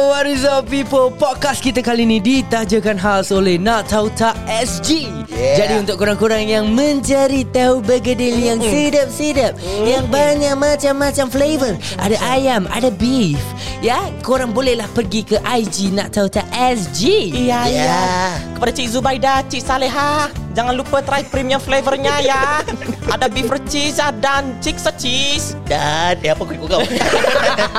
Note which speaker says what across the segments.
Speaker 1: up people Podcast kita kali ni ditajakan khas oleh Nak Tahu Tak SG yeah. Jadi untuk korang-korang yang mencari tahu bergedil yang sedap-sedap Yang banyak macam-macam flavor Ada ayam, ada beef Ya, korang bolehlah pergi ke IG Nak Tahu Tak SG
Speaker 2: Ya, ya.
Speaker 3: Ya.
Speaker 2: Kepada Cik Zubaida, Cik Saleha, jangan lupa try premium flavornya ya. Ada beef cheese dan chick cheese.
Speaker 3: Dan Eh apa kuih kau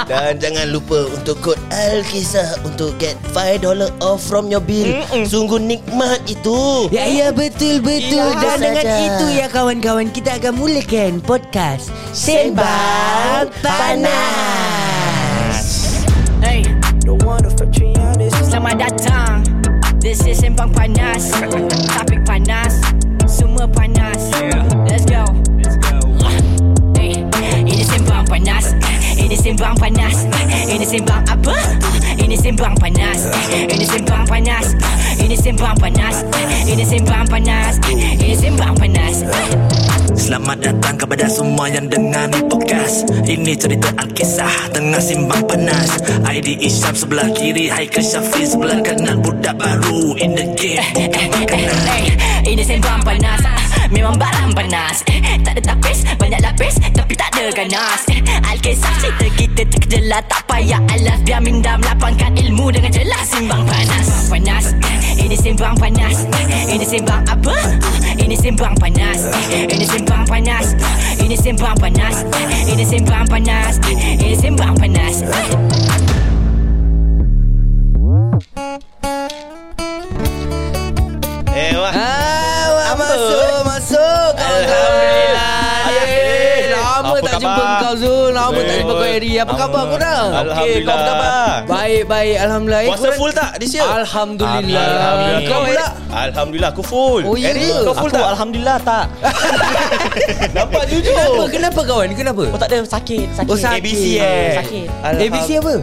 Speaker 3: Dan jangan lupa Untuk kod Al-Kisah Untuk get $5 off From your bill Sungguh nikmat itu
Speaker 1: Ya, ya betul betul
Speaker 2: Ya,
Speaker 1: dan
Speaker 3: saja.
Speaker 1: dengan itu ya kawan-kawan kita akan mulakan podcast Sembang Panas.
Speaker 4: Hey, selamat datang. This is sembang panas. Topik panas, semua panas. Let's go. Hey, ini sembang panas. Ini sembang panas. Ini sembang apa? Ini sembang panas. Ini sembang panas. Ini sembang panas. Ini sembang panas. Ini sembang panas.
Speaker 5: Selamat datang kepada semua yang dengar ni podcast Ini cerita Alkisah tengah simbang panas ID Isyam sebelah kiri Haikal Syafiq sebelah kanan Budak baru in the game bukan makanan
Speaker 4: Eh, Ini sembang panas Ah, Memang barang panas Eh, Tak ada tapis Banyak lapis Tapi tak ada ganas Eh, Alkisah cerita kita terkejelah Tak payah alas Biar minda melapangkan ilmu Dengan jelas Simbang panas Sembang panas Eh, Ini sembang panas Eh, Ini sembang apa? Ah, Ini sembang panas Eh, Ini sembang panas Ah, Ini sembang panas Eh, Ini sembang panas Eh, Ini sembang panas Eh.
Speaker 3: Eh wah
Speaker 1: Ah, wah, masuk masuk
Speaker 3: Alhamdulillah.
Speaker 1: Yeay, Lama
Speaker 6: Apa
Speaker 1: tak
Speaker 6: khabar?
Speaker 1: jumpa kau Zul Lama tak jumpa kau Eri Apa khabar korang?
Speaker 6: Okey, kau apa khabar?
Speaker 1: Baik-baik Alhamdulillah Eh,
Speaker 6: Puasa
Speaker 1: korang-
Speaker 6: full tak this year?
Speaker 1: Alhamdulillah
Speaker 6: Alhamdulillah.
Speaker 1: Kau pula
Speaker 6: Alhamdulillah aku full.
Speaker 1: Oh, ya
Speaker 6: Eri,
Speaker 1: ke?
Speaker 6: kau full
Speaker 2: Aku,
Speaker 6: tak?
Speaker 2: Alhamdulillah tak.
Speaker 6: Nampak
Speaker 1: Kenapa?
Speaker 6: jujur.
Speaker 1: Kenapa kawan? Kenapa?
Speaker 2: Oh tak ada sakit, sakit.
Speaker 1: Oh, sakit.
Speaker 3: ABC eh
Speaker 2: Sakit.
Speaker 1: ABC apa?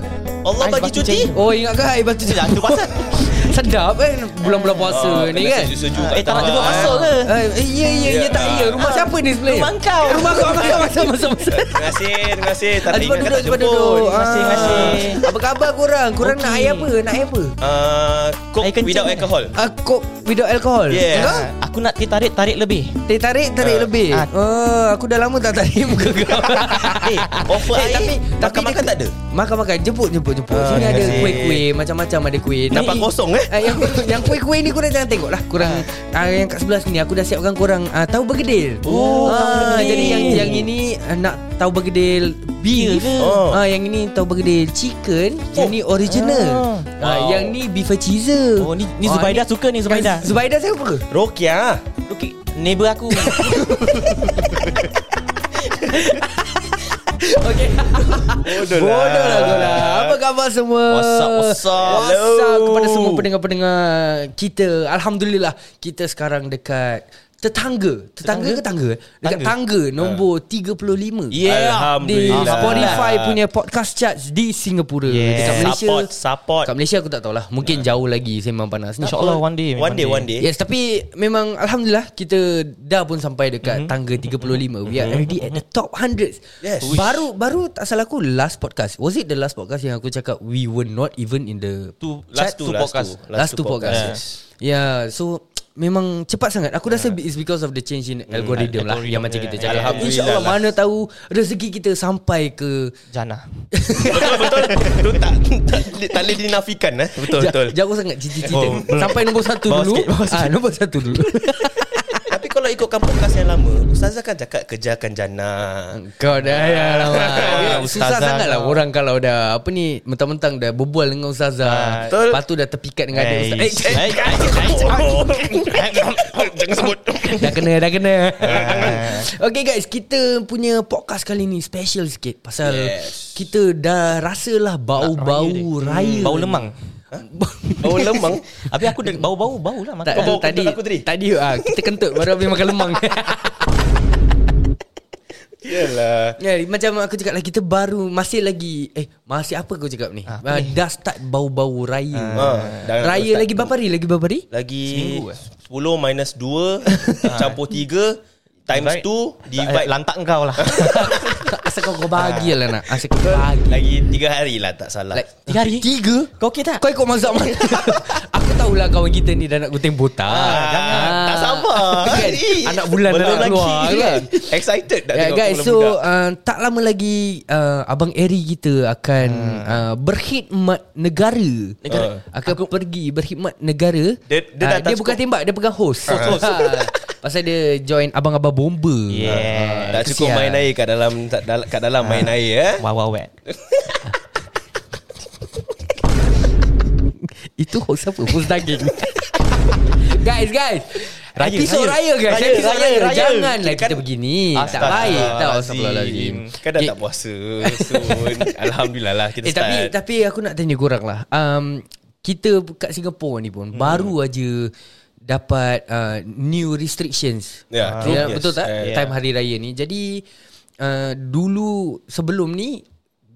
Speaker 3: Allah
Speaker 2: Ais
Speaker 3: bagi
Speaker 2: batu
Speaker 3: cuti
Speaker 2: cincin.
Speaker 1: Oh ingat ke air batu
Speaker 6: Jangan tu pasal. Ah,
Speaker 1: Sedap kan Bulan-bulan puasa ni kan
Speaker 6: Sejuk
Speaker 2: Eh tak nak
Speaker 6: Ah.
Speaker 2: jemput masuk ke?
Speaker 1: Eh, eh, ya, ya, ya, tak ya. Rumah siapa ni sebenarnya?
Speaker 2: Rumah kau.
Speaker 1: Eh. Rumah kau, rumah kau. Masa, masa, masa.
Speaker 6: Terima kasih, terima kasih. Tak
Speaker 1: Cepat duduk,
Speaker 6: teringat tak
Speaker 1: cepat
Speaker 6: jemput.
Speaker 1: duduk.
Speaker 2: Terima kasih,
Speaker 1: Ah.
Speaker 2: terima kasih.
Speaker 1: Apa khabar korang? Korang nak
Speaker 2: Okey.
Speaker 1: air apa? Nak air apa?
Speaker 6: Ah,
Speaker 2: Air
Speaker 6: Coke
Speaker 2: kencing
Speaker 6: without
Speaker 2: ke?
Speaker 6: alcohol.
Speaker 1: Uh, kok without alcohol.
Speaker 6: Yeah.
Speaker 1: Kau?
Speaker 2: Eh, Aku nak ditarik, tarik lebih.
Speaker 1: Tarik, tarik, tarik
Speaker 6: Ah.
Speaker 1: lebih.
Speaker 2: Ah.
Speaker 1: Oh, aku dah lama tak tarik muka kau.
Speaker 6: Eh, offer
Speaker 1: Eh,
Speaker 6: air tapi Eh, makan-makan
Speaker 1: dia-
Speaker 6: tak ada.
Speaker 1: Makan-makan. Jemput, jemput, jemput. Sini
Speaker 6: terima
Speaker 1: ada
Speaker 6: kasih.
Speaker 1: kuih-kuih. Macam-macam ada kuih. Ni-
Speaker 6: Nampak kosong eh?
Speaker 1: Ah, yang, yang kuih-kuih ni korang jangan tengok lah Korang ah. Yang kat sebelah sini Aku dah siapkan korang ah, Tahu bergedil
Speaker 6: Oh,
Speaker 2: tahu
Speaker 1: ah,
Speaker 2: bergedil.
Speaker 1: Jadi yang yang ini ah, Nak tahu bergedil Beef
Speaker 2: Ya ke?
Speaker 1: oh. ah, Yang ini tahu bergedil Chicken Yang ni original ah.
Speaker 6: Wow.
Speaker 1: Yang ni beef and cheeser
Speaker 2: Oh ni ni
Speaker 1: Ah,
Speaker 2: Zubaida suka ni Zubaida.
Speaker 1: Zubaida siapa ke?
Speaker 6: Rokia.
Speaker 2: Okey, neighbor aku.
Speaker 6: Bodoh
Speaker 1: Bodoh lah kau lah Apa khabar semua?
Speaker 6: What's up, what's up?
Speaker 1: What's up
Speaker 6: Hello.
Speaker 1: kepada semua pendengar-pendengar kita Alhamdulillah Kita sekarang dekat Tetangga Tetangga ke tangga? Dekat tangga Ha. Nombor 35
Speaker 6: Yeah.
Speaker 1: Di
Speaker 6: Alhamdulillah.
Speaker 1: Spotify punya podcast charts Di Singapura
Speaker 2: Yeah.
Speaker 1: Dekat Malaysia
Speaker 6: Support, support.
Speaker 1: Kat Malaysia aku tak tahulah Mungkin jauh lagi Sembang Panas ni
Speaker 2: InsyaAllah one day.
Speaker 6: One day, one day.
Speaker 1: Yes tapi Memang Alhamdulillah Kita dah pun sampai dekat mm-hmm. Tangga 35 We are already at the top 100
Speaker 6: Mhm. Yes.
Speaker 1: Baru Baru tak salah aku Last podcast Was it the last podcast Yang aku cakap We were not even in the
Speaker 6: Two, last two, last two.
Speaker 1: Last, two podcast Yeah, yeah Ya, so Memang cepat sangat Aku rasa it's because of the change in algorithm, lah Yang macam kita cakap
Speaker 6: Alhamdulillah
Speaker 1: InsyaAllah
Speaker 6: lah.
Speaker 1: mana tahu Rezeki kita sampai ke
Speaker 2: Jana.
Speaker 6: Betul, betul. Itu tak, tak, tak boleh dinafikan eh. Betul,
Speaker 1: Ja-
Speaker 6: betul.
Speaker 1: Jauh sangat cita-cita
Speaker 6: Oh, betul.
Speaker 1: Sampai nombor satu
Speaker 6: Bawah
Speaker 1: dulu
Speaker 6: sikit, bawah
Speaker 1: Ah, Nombor satu dulu
Speaker 6: Tapi kalau ikutkan podcast yang lama Ustazah kan cakap kerja akan jana
Speaker 1: Kau dah ya lama. Susah
Speaker 2: Ustazah
Speaker 1: sangatlah
Speaker 6: lah.
Speaker 2: kau.
Speaker 1: orang kalau dah apa ni mentang-mentang dah berbual dengan ustazah.
Speaker 6: Ah,
Speaker 1: Betul.
Speaker 6: betul.
Speaker 1: Lepas tu dah terpikat dengan adik ustazah. Eh, eh,
Speaker 6: Jangan sebut
Speaker 1: dah kena dah kena. okay guys, kita punya podcast kali ni special sikit pasal yes. kita dah rasalah bau-bau raya.
Speaker 2: Bau lemang.
Speaker 6: Bau lemang
Speaker 2: Habis aku dah bau-bau bau lah
Speaker 1: Tak,
Speaker 2: makan.
Speaker 6: Kau bau
Speaker 1: tadi
Speaker 6: kentut aku tadi?
Speaker 1: tadi ah kita kentut baru habis makan lemang.
Speaker 6: Yalah
Speaker 1: Ya, macam aku cakap lah Kita baru Masih lagi Eh masih apa kau cakap ni ah, Dah start bau-bau raya
Speaker 6: Ah, dah-
Speaker 1: Raya lagi eh?
Speaker 6: dah start.
Speaker 1: berapa hari Lagi berapa hari
Speaker 6: Lagi 10 minus 2 Campur 3 Times
Speaker 1: Ah. Divide.
Speaker 6: two
Speaker 1: Divide
Speaker 6: Divide
Speaker 1: lantak kau lah.
Speaker 7: Asal kau kau bagi lah nak Asal kau bagi
Speaker 6: Lagi tiga hari lah tak salah
Speaker 7: Like Tiga hari
Speaker 1: Tiga? Kau okey tak?
Speaker 7: Kau ikut mazhab mana Aku tahulah kawan kita ni Dah nak gunting botak
Speaker 6: Ah, jangan. Tak sama.
Speaker 7: kan?
Speaker 6: Eh,
Speaker 7: Anak bulan dah
Speaker 6: belum
Speaker 7: nak
Speaker 6: lagi.
Speaker 7: keluar kan?
Speaker 6: Excited dah
Speaker 7: Yeah,
Speaker 6: tengok
Speaker 7: guys,
Speaker 6: bola
Speaker 7: so
Speaker 6: budak.
Speaker 7: uh, tak lama lagi uh, Abang Eri kita akan uh, berkhidmat negara.
Speaker 6: Negara.
Speaker 7: Uh, akan aku, pergi berkhidmat negara.
Speaker 6: Dia- dia
Speaker 7: Ah,
Speaker 6: dah
Speaker 7: dia
Speaker 6: tak
Speaker 7: bukan
Speaker 6: cukup.
Speaker 7: tembak, dia pegang host. host. Pasal dia join abang-abang bomba. ah,
Speaker 1: Yeah.
Speaker 6: Eh, Tak cukup main air kat dalam tak dal- kat dalam main air eh.
Speaker 1: Wow, wow, wow.
Speaker 7: Itu host apa? Host daging. guys, guys.
Speaker 1: Raya,
Speaker 7: Episod
Speaker 1: raya.
Speaker 7: raya, guys.
Speaker 1: Raya,
Speaker 7: Episod
Speaker 1: raya,
Speaker 7: raya,
Speaker 1: raya.
Speaker 7: Janganlah
Speaker 6: Kan-
Speaker 7: kita begini. Ah, Tak baik tau. Astagfirullahaladzim.
Speaker 6: Kan dah
Speaker 7: Okay.
Speaker 6: tak puasa soon. Alhamdulillah lah kita
Speaker 7: Eh tapi
Speaker 6: start.
Speaker 7: tapi aku nak tanya korang lah. Um, kita kat Singapura ni pun hmm. baru aja dapat uh, new restrictions.
Speaker 6: Ya,
Speaker 7: Ah.
Speaker 6: true.
Speaker 7: Ya,
Speaker 6: Yes.
Speaker 7: betul tak?
Speaker 6: Eh,
Speaker 7: Time hari raya ni. Jadi uh, dulu sebelum ni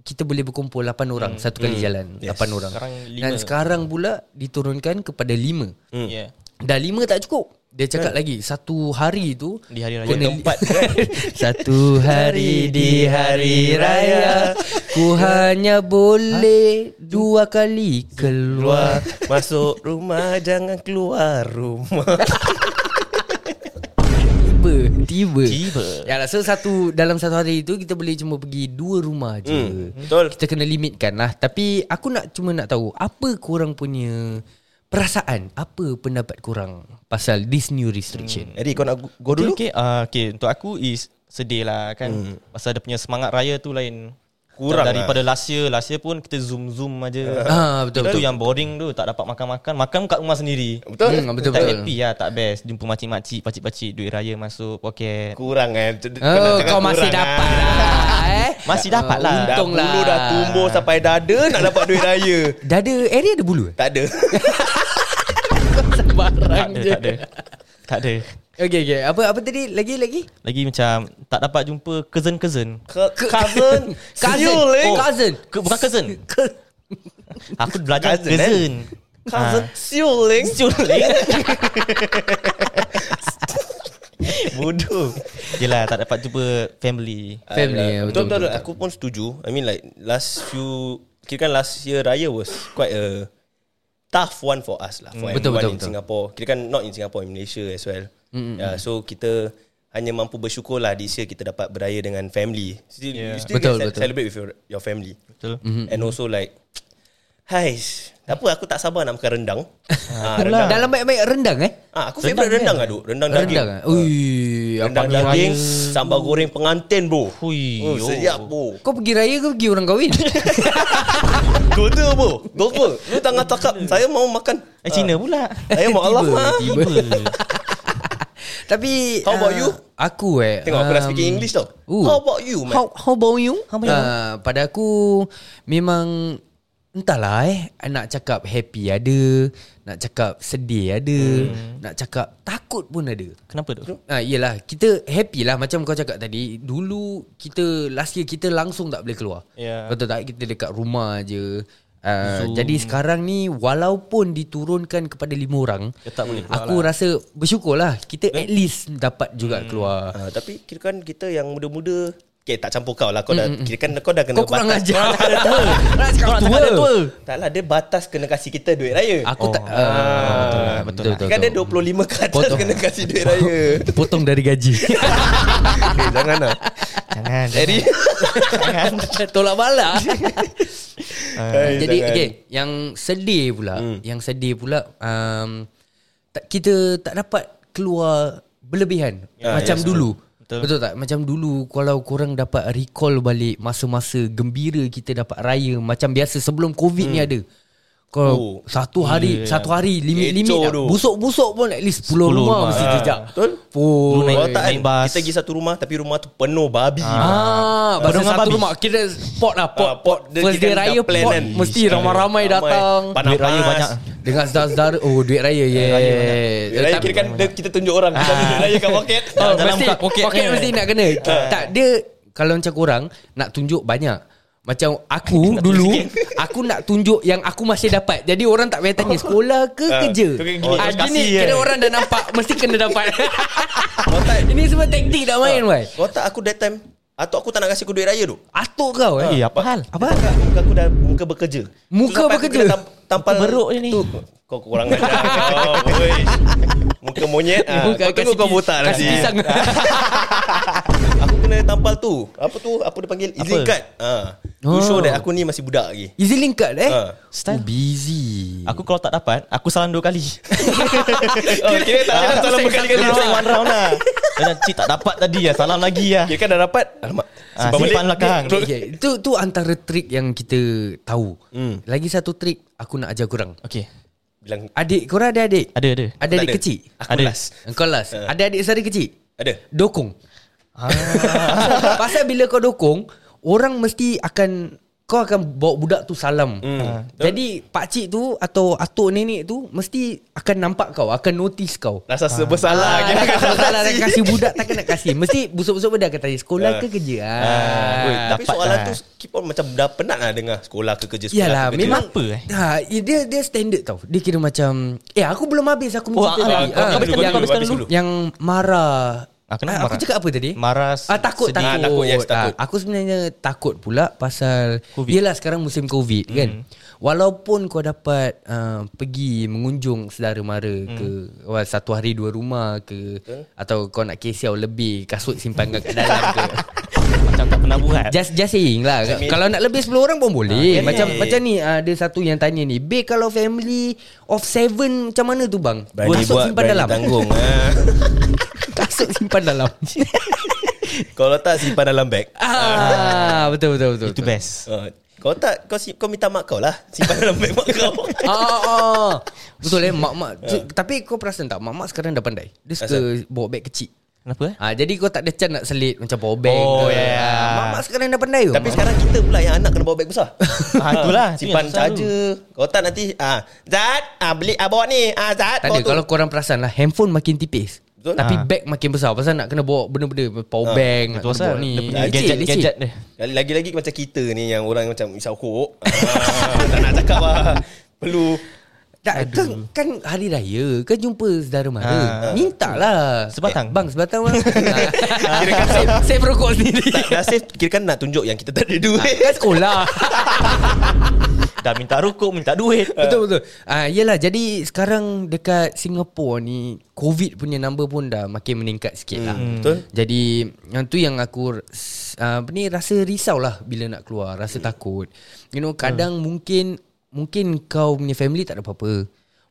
Speaker 7: kita boleh berkumpul 8 orang satu kali jalan,
Speaker 6: Hmm. Yes.
Speaker 7: 8 orang.
Speaker 1: Sekarang lima.
Speaker 7: Dan sekarang pula diturunkan kepada 5.
Speaker 6: Hmm. Kan?
Speaker 1: Yeah.
Speaker 7: Dah 5 tak cukup. Dia cakap lagi satu hari tu
Speaker 1: Di hari raya.
Speaker 7: kena-
Speaker 6: Tempat
Speaker 7: satu hari di hari raya Ku hanya boleh dua kali keluar
Speaker 6: keluar masuk rumah jangan keluar rumah.
Speaker 7: Tiba Tiba
Speaker 6: Tiba.
Speaker 7: Ya lah so satu Dalam satu hari itu Kita boleh cuma pergi dua rumah je
Speaker 6: Hmm, betul.
Speaker 7: Kita kena limitkan lah Tapi aku nak cuma nak tahu Apa korang punya Perasaan Apa pendapat korang Pasal this new restriction
Speaker 6: Eri kau nak gu- go dulu?
Speaker 1: Okay, okay. Uh, okay. Untuk aku is sedih lah kan. Hmm. Pasal dia punya semangat raya tu lain.
Speaker 6: Kurang
Speaker 1: Daripada last year. Last year pun kita zoom-zoom aja. Kan?
Speaker 7: Ah, betul,
Speaker 1: Itu
Speaker 7: betul.
Speaker 1: yang boring tu. Tak dapat makan-makan. Makan kat rumah sendiri.
Speaker 6: Betul?
Speaker 7: Hmm, betul
Speaker 1: Tak
Speaker 7: betul.
Speaker 1: happy lah. Tak best. Jumpa makcik-makcik, pakcik-pakcik. Duit raya masuk poket.
Speaker 6: Kurang kan.
Speaker 7: Oh, kau masih dapat lah eh.
Speaker 1: Masih dapat lah.
Speaker 6: ah. Dah
Speaker 7: Untung lah.
Speaker 6: bulu dah tumbuh sampai dada nak dapat duit raya.
Speaker 7: Dada area ada bulu eh?
Speaker 6: Tak ada.
Speaker 1: Tak ada, Eh, tak ada. Tak ada.
Speaker 7: Okay, okay. Apa apa tadi? Lagi, lagi?
Speaker 1: Lagi macam tak dapat jumpa cousin-cousin.
Speaker 6: Ke- Cousin.
Speaker 7: Cousin.
Speaker 6: Siul, eh.
Speaker 7: Oh, cousin.
Speaker 1: Ke, bukan cousin. Aku belajar
Speaker 6: Cousin, eh?
Speaker 1: cousin.
Speaker 6: Cousin.
Speaker 7: Ah.
Speaker 6: Siul, eh.
Speaker 1: Bodoh.
Speaker 2: lah,
Speaker 1: Yelah tak dapat jumpa family.
Speaker 7: Family,
Speaker 6: Alah,
Speaker 7: ya, betul,
Speaker 6: betul, betul,
Speaker 7: betul,
Speaker 6: Aku pun setuju. I mean like last few kira kan last year raya was quite a tough one for us lah for everyone
Speaker 7: Betul, Mm. betul,
Speaker 6: in
Speaker 7: betul.
Speaker 6: Singapore. Kira kan not in Singapore in Malaysia as well. Mm, yeah, so kita hanya mampu bersyukur lah this year kita dapat beraya dengan family. Still, yeah. You still betul, can
Speaker 7: Betul, betul.
Speaker 6: betul. celebrate with your, your family.
Speaker 1: Betul.
Speaker 6: Mm-hmm. And also like Hais, tak apa aku tak sabar nak makan rendang. ha,
Speaker 7: Rendang.
Speaker 6: rendang.
Speaker 7: Dalam baik-baik rendang eh?
Speaker 6: Ah, aku favorite rendang lah duk. Rendang,
Speaker 7: Rendang
Speaker 6: daging.
Speaker 7: eh? Ui,
Speaker 6: Rendang
Speaker 7: abang ni
Speaker 6: daging,
Speaker 7: raya.
Speaker 6: sambal goreng pengantin bro.
Speaker 1: Hui,
Speaker 6: Oh,
Speaker 1: yo.
Speaker 6: sedap bro.
Speaker 7: Kau pergi raya ke pergi orang kahwin?
Speaker 6: Goda apa? Goda. Lu tengah cakap saya mau makan.
Speaker 1: Eh Cina pula.
Speaker 6: Saya mau Allah mah.
Speaker 7: tiba. Tapi
Speaker 6: How about
Speaker 7: ah,
Speaker 6: you?
Speaker 7: Aku eh
Speaker 6: Tengok aku dah speaking English tau.
Speaker 7: ooh.
Speaker 6: How about you, man?
Speaker 7: How, how about you? How
Speaker 1: Ah,
Speaker 7: about you? Uh, pada aku memang entahlah eh nak cakap happy ada, nak cakap sedih ada, hmm. nak cakap takut pun ada.
Speaker 1: Kenapa tu?
Speaker 7: Ah iyalah kita happy lah macam kau cakap tadi dulu kita last year kita langsung tak boleh keluar.
Speaker 1: Ya.
Speaker 7: Betul tak kita dekat rumah je. Uh, jadi sekarang ni walaupun diturunkan kepada lima orang
Speaker 1: Tetap boleh keluar
Speaker 7: aku rasa bersyukur lah kita at least dapat juga keluar.
Speaker 6: Ah, tapi kira kan kita yang muda-muda Okay tak campur kau lah Kau dah Kira kan kau dah kena
Speaker 7: Mm, Kau kurang
Speaker 6: batas
Speaker 7: ajar. Nak cakap tua.
Speaker 1: tua.
Speaker 6: Tak lah dia batas kena kasih kita duit raya
Speaker 7: Aku tak ah, betul, betul,
Speaker 6: Kira kan dia 25 ke atas
Speaker 7: Potong.
Speaker 6: Kena kasih duit raya
Speaker 7: potong dari gaji.
Speaker 6: Eh jangan lah
Speaker 1: Jangan.
Speaker 6: Jadi
Speaker 7: Tolak balak.
Speaker 6: Hai,
Speaker 7: Jadi
Speaker 6: Ah, jangan.
Speaker 7: okay, yang sedih pula, hmm. yang sedih pula um, tak, kita tak dapat keluar berlebihan ya, macam ya, dulu. Betul. betul tak? Macam dulu kalau korang dapat recall balik masa-masa gembira kita dapat raya macam biasa sebelum Covid hmm. ni ada.
Speaker 6: Oh.
Speaker 7: Kau oh, satu hari yeah. satu hari limit-limit
Speaker 6: Kecoh
Speaker 7: dah.
Speaker 6: tu.
Speaker 7: busuk-busuk pun at least 10,
Speaker 1: 10
Speaker 7: rumah,
Speaker 1: rumah.
Speaker 7: mesti
Speaker 1: Ah.
Speaker 7: jejak.
Speaker 6: Betul
Speaker 7: Oh.
Speaker 1: Dulu naik-
Speaker 6: Kau tak kan
Speaker 1: naik bas.
Speaker 6: Kita pergi satu rumah Tapi rumah tu penuh babi
Speaker 7: Ah, pasal
Speaker 1: Padang
Speaker 7: satu
Speaker 1: habis.
Speaker 7: rumah Kira pot lah pot,
Speaker 6: Ah,
Speaker 7: pot,
Speaker 6: dia kira
Speaker 7: First day
Speaker 6: dah
Speaker 7: raya
Speaker 6: plan
Speaker 7: pot
Speaker 6: kan.
Speaker 7: Mesti ramai-ramai datang
Speaker 6: Panas-panas
Speaker 1: Duit raya banyak.
Speaker 7: Dengan saudara-saudara Oh duit raya yeah.
Speaker 1: raya
Speaker 6: Duit raya kira kan dia- Kita tunjuk orang Kita ambil duit raya kat poket
Speaker 7: Ah.
Speaker 6: kan.
Speaker 7: oh,
Speaker 1: dalam
Speaker 7: mesti,
Speaker 1: kat
Speaker 7: poket,
Speaker 1: poket
Speaker 7: poket
Speaker 1: dia.
Speaker 7: mesti nak kena Tak dia Kalau macam korang Nak tunjuk banyak Macam aku dulu Aku nak tunjuk yang aku masih dapat Jadi orang tak payah tanya Sekolah ke kerja
Speaker 2: tu kan gini,
Speaker 7: oh, ah,
Speaker 2: terus
Speaker 7: Ini
Speaker 2: kasih,
Speaker 7: kira
Speaker 2: eh.
Speaker 7: orang dah nampak Mesti kena dapat Ini semua taktik nak main why?
Speaker 6: Otak aku that time Atuk aku tak nak kasi aku duit raya tu
Speaker 7: Atuk kau eh
Speaker 2: Eh apa hal
Speaker 7: Apa?
Speaker 6: Muka, muka aku dah Muka bekerja
Speaker 7: Muka
Speaker 6: sampai aku
Speaker 7: bekerja?
Speaker 6: kena tam- Tampal
Speaker 1: Muka beruk je ni.
Speaker 6: tu. Kau kurang ajar kau, weh. Muka monyet ah,
Speaker 7: Bukan,
Speaker 6: Kau tengok
Speaker 7: kasi
Speaker 6: kau
Speaker 7: pi-
Speaker 6: botak
Speaker 7: Kasi
Speaker 6: nanti Ah.
Speaker 7: pisang
Speaker 6: Aku kena tampal tu Apa tu Apa dia panggil Izin
Speaker 2: Apa?
Speaker 6: card ah. To
Speaker 7: Oh.
Speaker 6: show that aku ni masih budak lagi
Speaker 7: Easy link card eh
Speaker 6: Ah.
Speaker 7: Style busy
Speaker 2: Aku kalau tak dapat Aku salam dua kali
Speaker 6: Oh, kira tak ada salam berkali-kali.
Speaker 2: Aku salam one round lah Dan cik tak dapat tadi ya Salam lagi ya
Speaker 6: Kira kan dah dapat. Alamak.
Speaker 2: Ah, simpan belakang.
Speaker 7: okay, okay. Itu Eh, tu antara trik yang kita tahu
Speaker 6: Hmm.
Speaker 7: Lagi satu trik Aku nak ajar korang
Speaker 2: Okay
Speaker 6: Bilang
Speaker 7: Adik korang ada adik?
Speaker 2: Ada ada
Speaker 7: Ada adik
Speaker 6: ada.
Speaker 7: kecil?
Speaker 6: Aku
Speaker 2: Ada.
Speaker 6: last. Ah.
Speaker 7: Engkau last Ada adik saudara kecil?
Speaker 6: Ada.
Speaker 7: Dokong
Speaker 2: Ah.
Speaker 7: Pasal bila kau dokong Orang mesti akan Kau akan bawa budak tu salam hmm. Jadi pakcik tu Atau atuk nenek tu Mesti akan nampak kau Akan notice kau
Speaker 6: Rasa ha. bersalah
Speaker 7: Ah,
Speaker 6: ha.
Speaker 7: dia akan salah nak kasih budak Takkan nak kasih Mesti busuk-busuk benda akan tanya Sekolah
Speaker 6: Ah.
Speaker 7: ke kerja ah.
Speaker 6: Weh, tapi
Speaker 2: dapat
Speaker 6: soalan
Speaker 2: lah.
Speaker 6: tu keep on macam dah penat lah dengar sekolah ke kerja sekolah
Speaker 7: Yalah
Speaker 6: ke kerja.
Speaker 7: memang
Speaker 2: Kenapa, eh?
Speaker 7: ha, Dia dia standard tau Dia kira macam Eh aku belum habis
Speaker 2: Oh,
Speaker 7: Aku
Speaker 2: ah,
Speaker 7: mencerita tadi
Speaker 2: kau- kau
Speaker 7: Ah,
Speaker 2: habiskan
Speaker 7: yang-
Speaker 2: dulu, habiskan
Speaker 6: dulu.
Speaker 7: Yang marah
Speaker 2: Ah, kenapa
Speaker 7: Ah, Aku
Speaker 2: marah?
Speaker 7: cakap apa tadi?
Speaker 2: Marah,
Speaker 7: ah, Takut
Speaker 2: sedih.
Speaker 7: takut,
Speaker 6: Ah, takut, yes, takut.
Speaker 7: Ah, Aku sebenarnya takut pula Pasal
Speaker 2: Covid. Hmm.
Speaker 7: Yelah sekarang musim covid kan Walaupun kau dapat uh, Pergi mengunjung Sedara mara
Speaker 2: Hmm.
Speaker 7: ke wah, Satu hari dua rumah ke Atau kau nak kesiau lebih Kasut simpan kau kat dalam ke
Speaker 2: Macam tak pernah buat
Speaker 7: Just just saying lah I mean, Kalau nak lebih 10 orang pun boleh Macam macam ni ah, Ada satu yang tanya ni Babe kalau family Of seven Macam mana tu bang
Speaker 6: Berani
Speaker 7: Kasut
Speaker 6: buat,
Speaker 7: simpan
Speaker 6: berani
Speaker 7: dalam
Speaker 6: tanggung. Ha.
Speaker 7: Kasut simpan dalam
Speaker 6: Kalau tak simpan dalam beg.
Speaker 7: Ah, Betul betul betul
Speaker 2: Itu
Speaker 7: betul.
Speaker 2: best
Speaker 6: Uh, kau tak kau si- kau minta mak kau lah simpan dalam beg mak kau.
Speaker 7: Ah, ah, ah. Betul eh Mak-mak tu- Tapi kau perasan tak Mak-mak sekarang dah pandai Dia suka bawa beg kecil
Speaker 2: Kenapa eh
Speaker 7: Ah, jadi kau tak ada chance nak selit Macam power bank
Speaker 2: Oh,
Speaker 7: ke.
Speaker 2: yeah.
Speaker 7: Ah, Mak-mak sekarang dah pandai ke
Speaker 6: Tapi sekarang kita pula yang anak kena bawa beg besar.
Speaker 2: Ah, itulah. Itu yang
Speaker 6: simpan
Speaker 2: susah tu.
Speaker 6: charger. Kau tak nanti ah Zat, ah beli ah bawa ni. Ah Zat,
Speaker 7: Tak ada
Speaker 6: bawa tu.
Speaker 7: Kalau korang perasan lah Handphone makin tipis
Speaker 6: Betul.
Speaker 7: Tapi
Speaker 2: Ah.
Speaker 7: bag makin besar Pasal nak kena bawa benda-benda Power bank Nak
Speaker 2: Itu
Speaker 7: kena
Speaker 2: pasal
Speaker 7: bawa ni
Speaker 2: Dia punya
Speaker 7: Leceh,
Speaker 2: gadget
Speaker 7: leceh.
Speaker 2: Gadget dia
Speaker 6: Ah, Lagi- Lagi-lagi macam kita ni yang orang macam isau kok. Ah, tak nak cakap lah. Perlu.
Speaker 7: Tak, kan, kan hari raya Kan jumpa saudara mara
Speaker 2: Ha.
Speaker 7: Minta lah
Speaker 2: Sebatang.
Speaker 7: eh, Bang sebatang bang Kira saya, saya perokok sendiri
Speaker 6: Tak, dah safe kira kan nak tunjuk yang kita tak ada duit.
Speaker 7: Kan sekolah
Speaker 2: Dah minta rukuk Minta duit
Speaker 7: Betul-betul Ah, Yelah jadi sekarang Dekat Singapura ni Covid punya number pun Dah makin meningkat sikit lah
Speaker 6: Betul.
Speaker 7: Jadi yang tu yang aku uh, apa ni rasa risau lah bila nak keluar, rasa takut. You know kadang mungkin mungkin kau punya family tak ada apa-apa.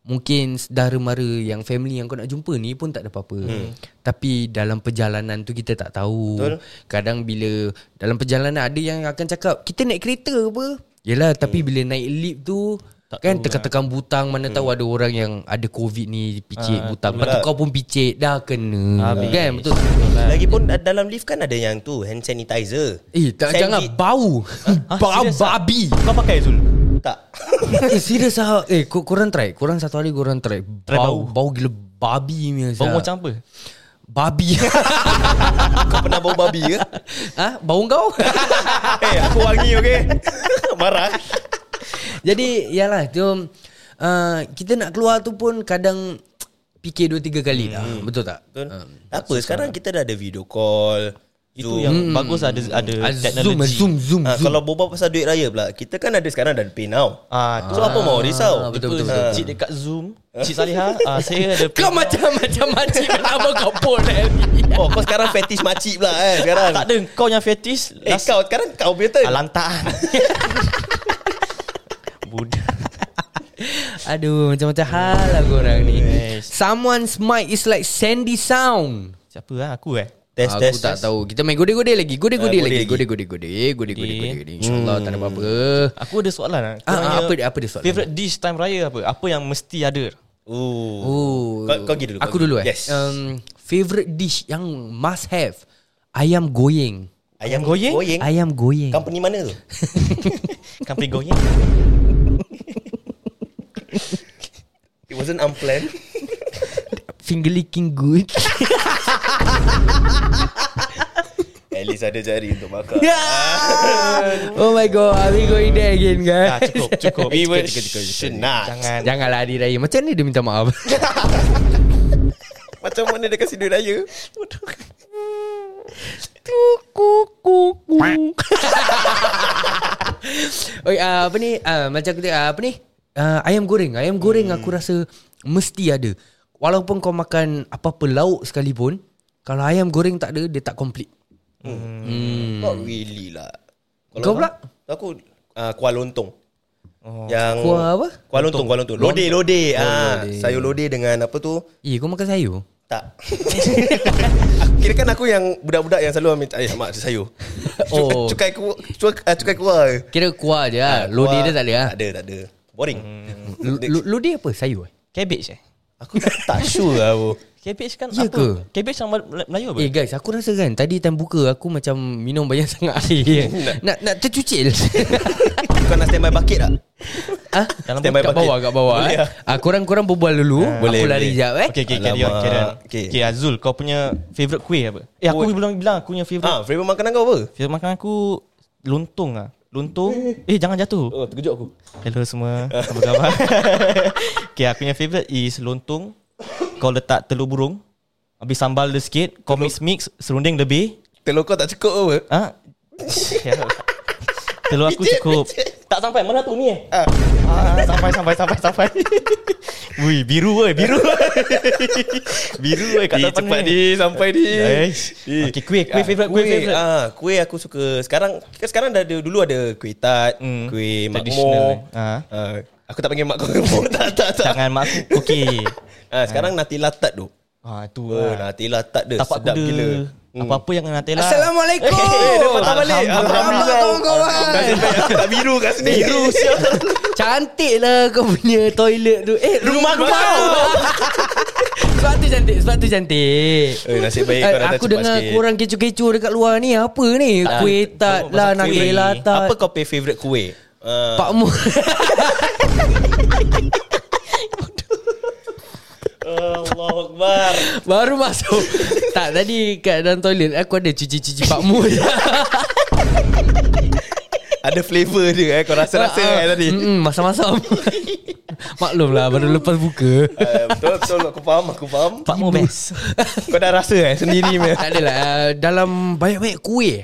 Speaker 7: Mungkin saudara mara yang family yang kau nak jumpa ni pun tak ada apa-apa.
Speaker 2: Hmm.
Speaker 7: Tapi dalam perjalanan tu kita tak tahu. Betul. Kadang bila dalam perjalanan ada yang akan cakap kita naik kereta ke apa? Yelah tapi
Speaker 2: Hmm.
Speaker 7: bila naik lift tu
Speaker 2: lah.
Speaker 7: kan tekan-tekan butang mana tahu
Speaker 2: Hmm.
Speaker 7: ada orang yang ada covid ni picit butang. Lepas tu kau pun picit dah kena.
Speaker 2: Ah, lah. Habis.
Speaker 7: Kan betul.
Speaker 6: Lagipun da- dalam lift kan ada yang tu hand sanitizer.
Speaker 7: Eh tak
Speaker 6: Sandwich.
Speaker 7: jangan bau Bau
Speaker 2: serious ah?
Speaker 7: babi
Speaker 2: Kau pakai Zul
Speaker 6: Tak.
Speaker 7: Eh serius ah Eh kor- korang try Korang satu hari korang try Bau Bau gila babi punya
Speaker 2: Bau
Speaker 7: Zah.
Speaker 2: macam apa
Speaker 7: Babi
Speaker 6: Kau pernah bau babi ke?
Speaker 7: Ha? Bau kau?
Speaker 6: Eh, aku wangi okey. Marah.
Speaker 7: Jadi yalah tu uh, Kita nak keluar tu pun kadang Fikir dua tiga kali lah Betul tak?
Speaker 6: Betul. Apa sekarang kita dah ada video call.
Speaker 2: Itu
Speaker 6: Hmm.
Speaker 2: yang bagus ada ada
Speaker 7: Ah, Zoom
Speaker 2: teknologi.
Speaker 7: Zoom Zoom,
Speaker 6: Ha,
Speaker 7: zoom.
Speaker 6: kalau boba pasal duit raya pula Kita kan ada sekarang dah ada PayNow
Speaker 2: Ah, tu
Speaker 6: So apa mau risau
Speaker 7: betul, betul,
Speaker 6: Ah.
Speaker 2: Cik dekat Zoom Cik Saliha ah, Saya ada
Speaker 7: Kau macam-macam makcik Kenapa kau pun Larry?
Speaker 6: Oh kau sekarang fetish makcik pula eh sekarang
Speaker 2: Tak ada Kau yang fetis
Speaker 6: Eh kau sekarang kau punya
Speaker 2: eh,
Speaker 6: turn
Speaker 2: Lantaan Budak
Speaker 7: Aduh macam-macam hal lah korang ni
Speaker 2: Yes.
Speaker 7: Someone's mic is like sandy sound
Speaker 2: Siapa lah Aku eh
Speaker 6: Test
Speaker 7: Aku
Speaker 6: test
Speaker 7: tak
Speaker 6: test.
Speaker 7: tahu Kita main gode-gode lagi Gode-gode
Speaker 6: Ah,
Speaker 7: lagi
Speaker 6: gode lagi.
Speaker 7: Gode-gode-gode Gode-gode-gode gode. InsyaAllah tak ada apa-apa
Speaker 2: Aku ada soalan lah
Speaker 7: Ah, ah,
Speaker 2: Korangnya
Speaker 7: apa dia- apa dia soalan?
Speaker 2: Favourite dish time raya apa Apa yang mesti ada
Speaker 6: Ooh.
Speaker 7: Oh,
Speaker 6: Kau- kau pergi dulu, kau
Speaker 7: Aku
Speaker 6: pergi.
Speaker 7: dulu eh
Speaker 6: Yes.
Speaker 7: um, Favorite dish yang must have Ayam goyeng
Speaker 6: Ayam
Speaker 2: Goyeng?
Speaker 6: goyeng,
Speaker 7: Ayam goyeng
Speaker 6: Company mana tu?
Speaker 2: Kampri goyang
Speaker 6: It wasn't unplanned
Speaker 7: Finger licking good
Speaker 6: Eh At least ada jari untuk makan
Speaker 7: Yeah. Oh my god, are we going there again
Speaker 2: Ah,
Speaker 7: guys?
Speaker 2: cukup, cukup.
Speaker 6: We were
Speaker 2: Cukup, cukup, cukup.
Speaker 6: should not
Speaker 2: Jangan.
Speaker 7: Janganlah hari raya Macam ni dia minta maaf
Speaker 6: Macam mana dia kasi duit raya
Speaker 7: Oi, uh, apa ni? Uh, macam kita uh, apa ni? Uh, ayam goreng. Ayam goreng hmm. aku rasa mesti ada. Walaupun kau makan apa-apa lauk sekalipun, kalau ayam goreng tak ada, dia tak komplit.
Speaker 6: Not really lah
Speaker 7: Hmm. Kau pula?
Speaker 6: Aku uh, kuah lontong oh. Yang
Speaker 7: Kuah apa?
Speaker 6: Kuah lontong, kuah lontong. Lodeh, lodeh. Ah, sayur lodeh dengan apa tu?
Speaker 7: Eh, kau makan sayur?
Speaker 6: Tak. Aku- Kira kan aku yang budak-budak yang selalu ambil ayam mak sayur.
Speaker 7: Oh.
Speaker 6: Oh. Cukai ku cukai, ah, cukai kuah.
Speaker 7: Kira kuah je lah. Lodeh dia tak ada lah.
Speaker 6: Tak ada, tak ada. Boring.
Speaker 1: Hmm.
Speaker 7: Lo- lo- Lodeh apa? Sayur eh?
Speaker 1: Cabbage eh?
Speaker 6: Aku tak, tak sure lah aku.
Speaker 1: Cabbage kan
Speaker 7: Ya
Speaker 1: apa?
Speaker 7: ke?
Speaker 1: Cabbage sama Melayu apa?
Speaker 7: Eh guys, aku rasa kan tadi time buka aku macam minum banyak sangat air. nak nak tercucil.
Speaker 6: Kau nak standby bucket tak?
Speaker 7: ah,
Speaker 6: Dalam
Speaker 7: kat
Speaker 6: bucket.
Speaker 7: bawah, kat bawah.
Speaker 6: Boleh lah. Ah,
Speaker 7: eh. Ah, korang-korang berbual dulu.
Speaker 6: boleh,
Speaker 7: aku lari
Speaker 6: boleh.
Speaker 7: jap eh.
Speaker 2: Okay, okay, carry on,
Speaker 6: Alamak.
Speaker 2: carry on.
Speaker 6: Okay.
Speaker 2: Okay. okay, Azul, kau punya favourite kuih apa? Eh, aku belum bilang aku punya favourite.
Speaker 6: Ah, favorite makanan kau apa?
Speaker 2: Favourite makanan aku lontong ah. Lontong. Eh, jangan jatuh.
Speaker 6: Oh, terkejut aku.
Speaker 2: Hello semua. Apa khabar? okay, aku punya favourite is lontong. Kau letak telur burung. Habis sambal dia sikit. Kau mix-mix. Serunding lebih.
Speaker 6: Telur kau tak cukup apa?
Speaker 2: Ah. Ya Allah. telur aku cukup.
Speaker 1: Tak sampai mana tu ni eh?
Speaker 2: Ah, sampai, sampai, sampai, sampai. Ui, biru weh, biru. biru weh kat
Speaker 6: Di,
Speaker 2: depan
Speaker 6: cepat di, sampai di.
Speaker 2: Eish. Okay, kuih, kuih favourite, kuih favourite.
Speaker 6: Ah, kuih aku suka. Sekarang kan sekarang dah ada dulu ada kuih tart, mm. kuih
Speaker 2: Hmm. Traditional,
Speaker 6: makmur.
Speaker 2: eh. Ah.
Speaker 6: Ah, aku tak panggil mak makmur. tak tak tak.
Speaker 2: Jangan mak aku Okey
Speaker 6: Ah, sekarang Nutella tart tu.
Speaker 2: Ah
Speaker 6: Oh,
Speaker 2: tu lah
Speaker 6: Nutella tart dia
Speaker 2: Tapak
Speaker 6: sedap
Speaker 2: kuda
Speaker 6: gila. Hmm.
Speaker 2: Apa-apa Oh, yang dengan
Speaker 7: Ah.
Speaker 2: Nutella
Speaker 7: Assalamualaikum.
Speaker 6: Eh, dia patah balik.
Speaker 7: Alhamdulillah. Alhamdulillah.
Speaker 6: Nasib baik aku tak biru kat sini. Biru
Speaker 7: Cantik lah kau punya toilet tu. Eh, rumah kau. sebab tu cantik, sebab tu cantik.
Speaker 6: Eh, nasib baik
Speaker 7: Eh,
Speaker 6: kau datang
Speaker 7: aku
Speaker 6: cepat
Speaker 7: dengar
Speaker 6: sikit. Ah,
Speaker 7: korang kecoh-kecoh dekat luar ni. Apa ni? Kuih tart
Speaker 2: Apa
Speaker 7: lah,
Speaker 2: pasal kuih?
Speaker 7: nakil lah
Speaker 6: Apa
Speaker 7: tart.
Speaker 6: kau pay favourite kuih? Ah,
Speaker 7: Pak Mu.
Speaker 6: Allahu Akbar.
Speaker 7: Baru masuk. tak, tadi kat dalam toilet aku ada cuci-cuci Pak Mu.
Speaker 6: Ada flavour dia eh. Kau rasa-rasa eh tadi.
Speaker 7: Ah, Mm-mm, masam-masam. Maklum lah, baru lepas buka.
Speaker 6: Ah, Betul betul aku faham aku faham.
Speaker 2: Pak Mu best
Speaker 6: Kau dah rasa eh sendiri Hmm. punya.
Speaker 7: tak adalah. Uh, dalam banyak-banyak kuih.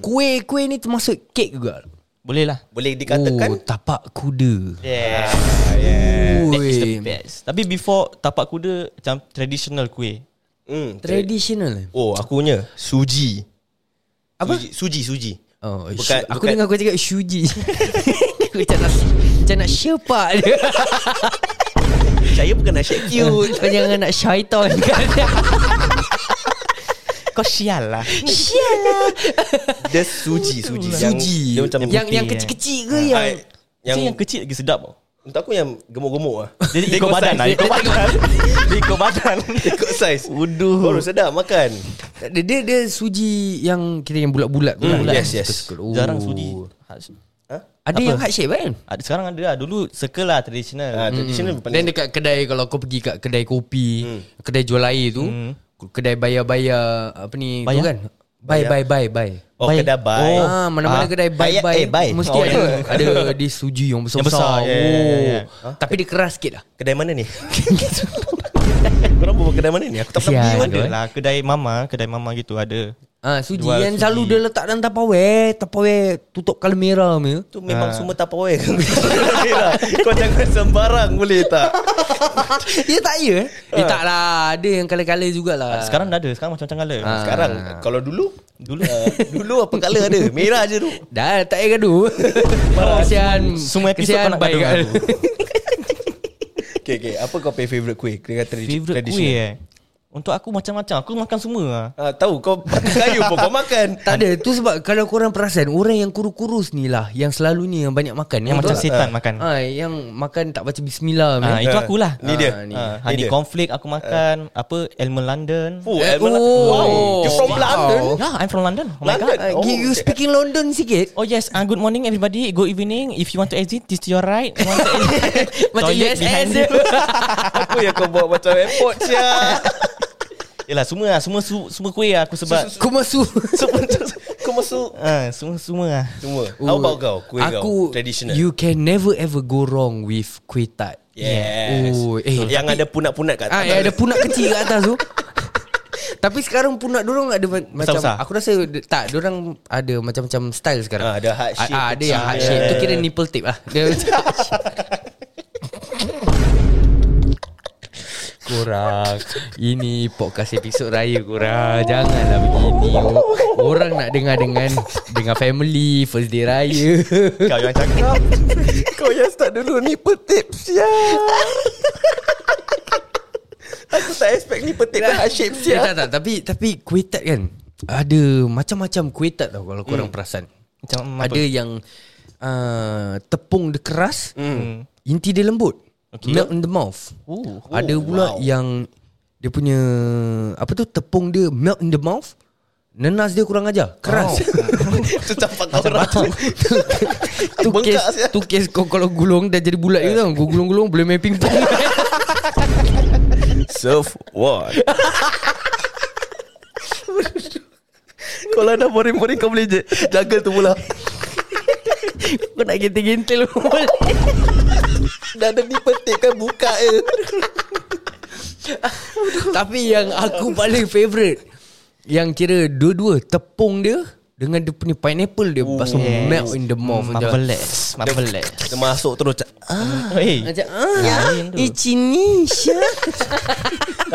Speaker 7: Kuih-kuih ni termasuk kek juga.
Speaker 2: Boleh lah
Speaker 6: Boleh dikatakan
Speaker 7: oh, tapak kuda.
Speaker 2: Yeah
Speaker 7: Ui,
Speaker 2: That is the best Tapi before tapak kuda Macam traditional kuih
Speaker 6: Hmm.
Speaker 7: Traditional.
Speaker 6: Oh, aku punya suji.
Speaker 7: Apa?
Speaker 6: Suji, suji, suji.
Speaker 7: Oh, bukan,
Speaker 6: Bukan-
Speaker 7: aku
Speaker 6: bukan-
Speaker 7: dengar kau cakap Shuji. aku macam nak macam nak sepak dia.
Speaker 6: Saya bukan nak shake you.
Speaker 7: Kau jangan nak syaitan kan.
Speaker 2: Kau sial lah
Speaker 6: Dia suji, suji. Yang,
Speaker 7: lah. Suji.
Speaker 6: Dia macam Ah,
Speaker 7: yang yang
Speaker 2: eh.
Speaker 7: kecil-kecil ke
Speaker 6: yang,
Speaker 7: yang
Speaker 6: yang,
Speaker 2: Yang, yang kecil lagi sedap tau
Speaker 6: untuk aku yang gemuk-gemuk lah.
Speaker 2: Jadi ikut badan lah Ikut badan Dia Ikut badan
Speaker 6: Ikut saiz.
Speaker 2: Waduh.
Speaker 6: Baru sedap makan.
Speaker 7: dia, dia dia suji yang kita yang bulat-bulat tu
Speaker 6: Hmm,
Speaker 7: lah.
Speaker 6: yes, yes.
Speaker 7: Suka-suka. Oh.
Speaker 2: Jarang sudi
Speaker 7: Ada yang heart shape kan?
Speaker 2: Ada Sekarang ada lah Dulu circle lah traditional
Speaker 6: Ah, traditional
Speaker 7: Hmm. Dan
Speaker 6: paling
Speaker 7: dekat kedai kalau kau pergi kat kedai kopi,
Speaker 2: Hmm.
Speaker 7: kedai jual air tu, kedai bayar-bayar apa ni tu
Speaker 2: Bayar?
Speaker 7: kan? Bye bye bye bye.
Speaker 6: Oh,
Speaker 2: Baik.
Speaker 6: kedai baik.
Speaker 2: Oh.
Speaker 7: Ah,
Speaker 2: Ah,
Speaker 7: mana-mana kedai
Speaker 6: bayar- eh,
Speaker 7: bye-bye
Speaker 6: bye.
Speaker 7: mesti
Speaker 2: Oh,
Speaker 7: ada
Speaker 2: ya.
Speaker 7: ada di suji yang besar.
Speaker 2: Yang besar,
Speaker 7: besar.
Speaker 2: ya, ya, ya, ya.
Speaker 7: Tapi dia keras sikit lah.
Speaker 6: Kedai mana ni? Korang berbual kedai mana ni? Aku tak pernah pergi
Speaker 7: Sial.
Speaker 6: mana.
Speaker 2: Ada lah Kedai mama Kedai mama gitu ada
Speaker 7: Ah, suji
Speaker 2: Jual
Speaker 7: yang selalu
Speaker 2: suji.
Speaker 7: dia letak dalam Tupperware, Tupperware eh, tutup kamera punya.
Speaker 6: Tu memang
Speaker 7: Ah.
Speaker 6: semua Tupperware Kau jangan sembarang boleh tak?
Speaker 7: Ya tak ya? Eh, eh tak lah, ada yang kala-kala jugalah.
Speaker 2: Ah, Sekarang dah ada Sekarang macam-macam colour
Speaker 7: Ah.
Speaker 6: Sekarang Kalau dulu Dulu uh, Dulu apa colour ada Merah je tu
Speaker 7: Dah tak payah gaduh
Speaker 2: Hmm,
Speaker 7: Kesian
Speaker 2: Semua episod
Speaker 7: kesian
Speaker 2: kau nak
Speaker 7: baik
Speaker 2: gaduh
Speaker 7: kan.
Speaker 6: Okay okay Apa kau punya favourite kuih Kira tradi-
Speaker 2: Favorite kuih eh Untuk aku macam-macam Aku makan semua lah
Speaker 6: Ah, tahu kau pakai kayu pun kau makan
Speaker 7: Tak ada Tu sebab kalau korang perasan Orang yang kurus-kurus ni lah Yang selalunya yang banyak makan
Speaker 2: Yang macam
Speaker 7: tak-
Speaker 2: setan makan
Speaker 7: Ah, Yang makan tak baca bismillah kan?
Speaker 2: Ah,
Speaker 7: man.
Speaker 2: itu akulah.
Speaker 6: Ni dia.
Speaker 7: Ah, ni.
Speaker 6: Ni
Speaker 2: Ah, honey
Speaker 6: dia.
Speaker 2: conflict aku makan apa Elmer London.
Speaker 6: Oh,
Speaker 7: Eh,
Speaker 6: Elmer-
Speaker 7: oh.
Speaker 6: Wow, you from
Speaker 7: Wow.
Speaker 6: London?
Speaker 2: Yeah, I'm from London. Oh my god.
Speaker 6: London.
Speaker 7: Ah, you, you
Speaker 6: Oh,
Speaker 7: speaking London sikit
Speaker 2: Oh yes, uh, good morning everybody. Good evening. If you want to exit, this to your right. You want to exit.
Speaker 7: Macam
Speaker 2: Toilet
Speaker 7: USS
Speaker 2: behind
Speaker 7: je.
Speaker 2: you.
Speaker 6: Apa yang kau buat macam airport sia?
Speaker 2: Yelah semua lah Semua su, semua kuih lah aku sebab
Speaker 7: Kumasu.
Speaker 6: Kau masuk
Speaker 2: Ah, Semua semua lah
Speaker 6: Semua How about kau Kuih
Speaker 7: aku,
Speaker 6: kau Traditional
Speaker 7: You can never ever go wrong with kuih tart.
Speaker 6: Yes
Speaker 7: Oh, eh,
Speaker 6: Yang ada punat-punat kat
Speaker 7: Ah, yang ada punat kecil kat atas tu. Tapi sekarang punat dorong ada ma- macam
Speaker 2: Besar-besar?
Speaker 7: aku rasa de- tak dorang ada macam-macam style sekarang.
Speaker 6: Ah, ada heart shape
Speaker 7: Ah, ada yang
Speaker 6: kecil.
Speaker 7: heart shape. Tu kira nipple tip lah. Dia macam Korang Ini podcast episod raya korang Janganlah begini Orang nak dengar dengan Dengan family First day raya
Speaker 2: Kau yang cakap
Speaker 3: Kau yang start dulu ni petips ya. Aku tak expect ni petik dah shape
Speaker 7: Eh, tak tak tapi tapi kuih tart kan ada macam-macam kuih tart tau kalau korang perasan.
Speaker 2: Macam
Speaker 7: Ada yang uh, tepung dia keras, inti dia lembut. Melt in the mouth.
Speaker 2: Ooh.
Speaker 7: ada pula yang dia punya apa tu tepung dia melt in the mouth. Nenas dia kurang ajar Keras
Speaker 6: Itu campak kau orang tu
Speaker 7: Tu kes
Speaker 6: Bengkak sia.
Speaker 7: Tu kes kau kalau gulung Dah jadi bulat je tau Kau gulung-gulung Boleh main ping pong
Speaker 6: Surf What
Speaker 2: Kalau dah boring-boring kau boleh je Jaga tu pula
Speaker 7: Kau nak gentil-gentil pun boleh.
Speaker 3: Dah ada ni petik kan buka je.
Speaker 7: Tapi yang aku paling favourite Yang kira dua-dua Tepung dia Dengan dia punya pineapple dia Lepas
Speaker 2: Oh,
Speaker 7: tu
Speaker 2: Yes. Hmm,
Speaker 7: melt in the mouth macam-
Speaker 2: Marvelous Marvelous
Speaker 6: Dia masuk terus macam,
Speaker 2: Hey
Speaker 7: Macam ah, ya, Ichini Sya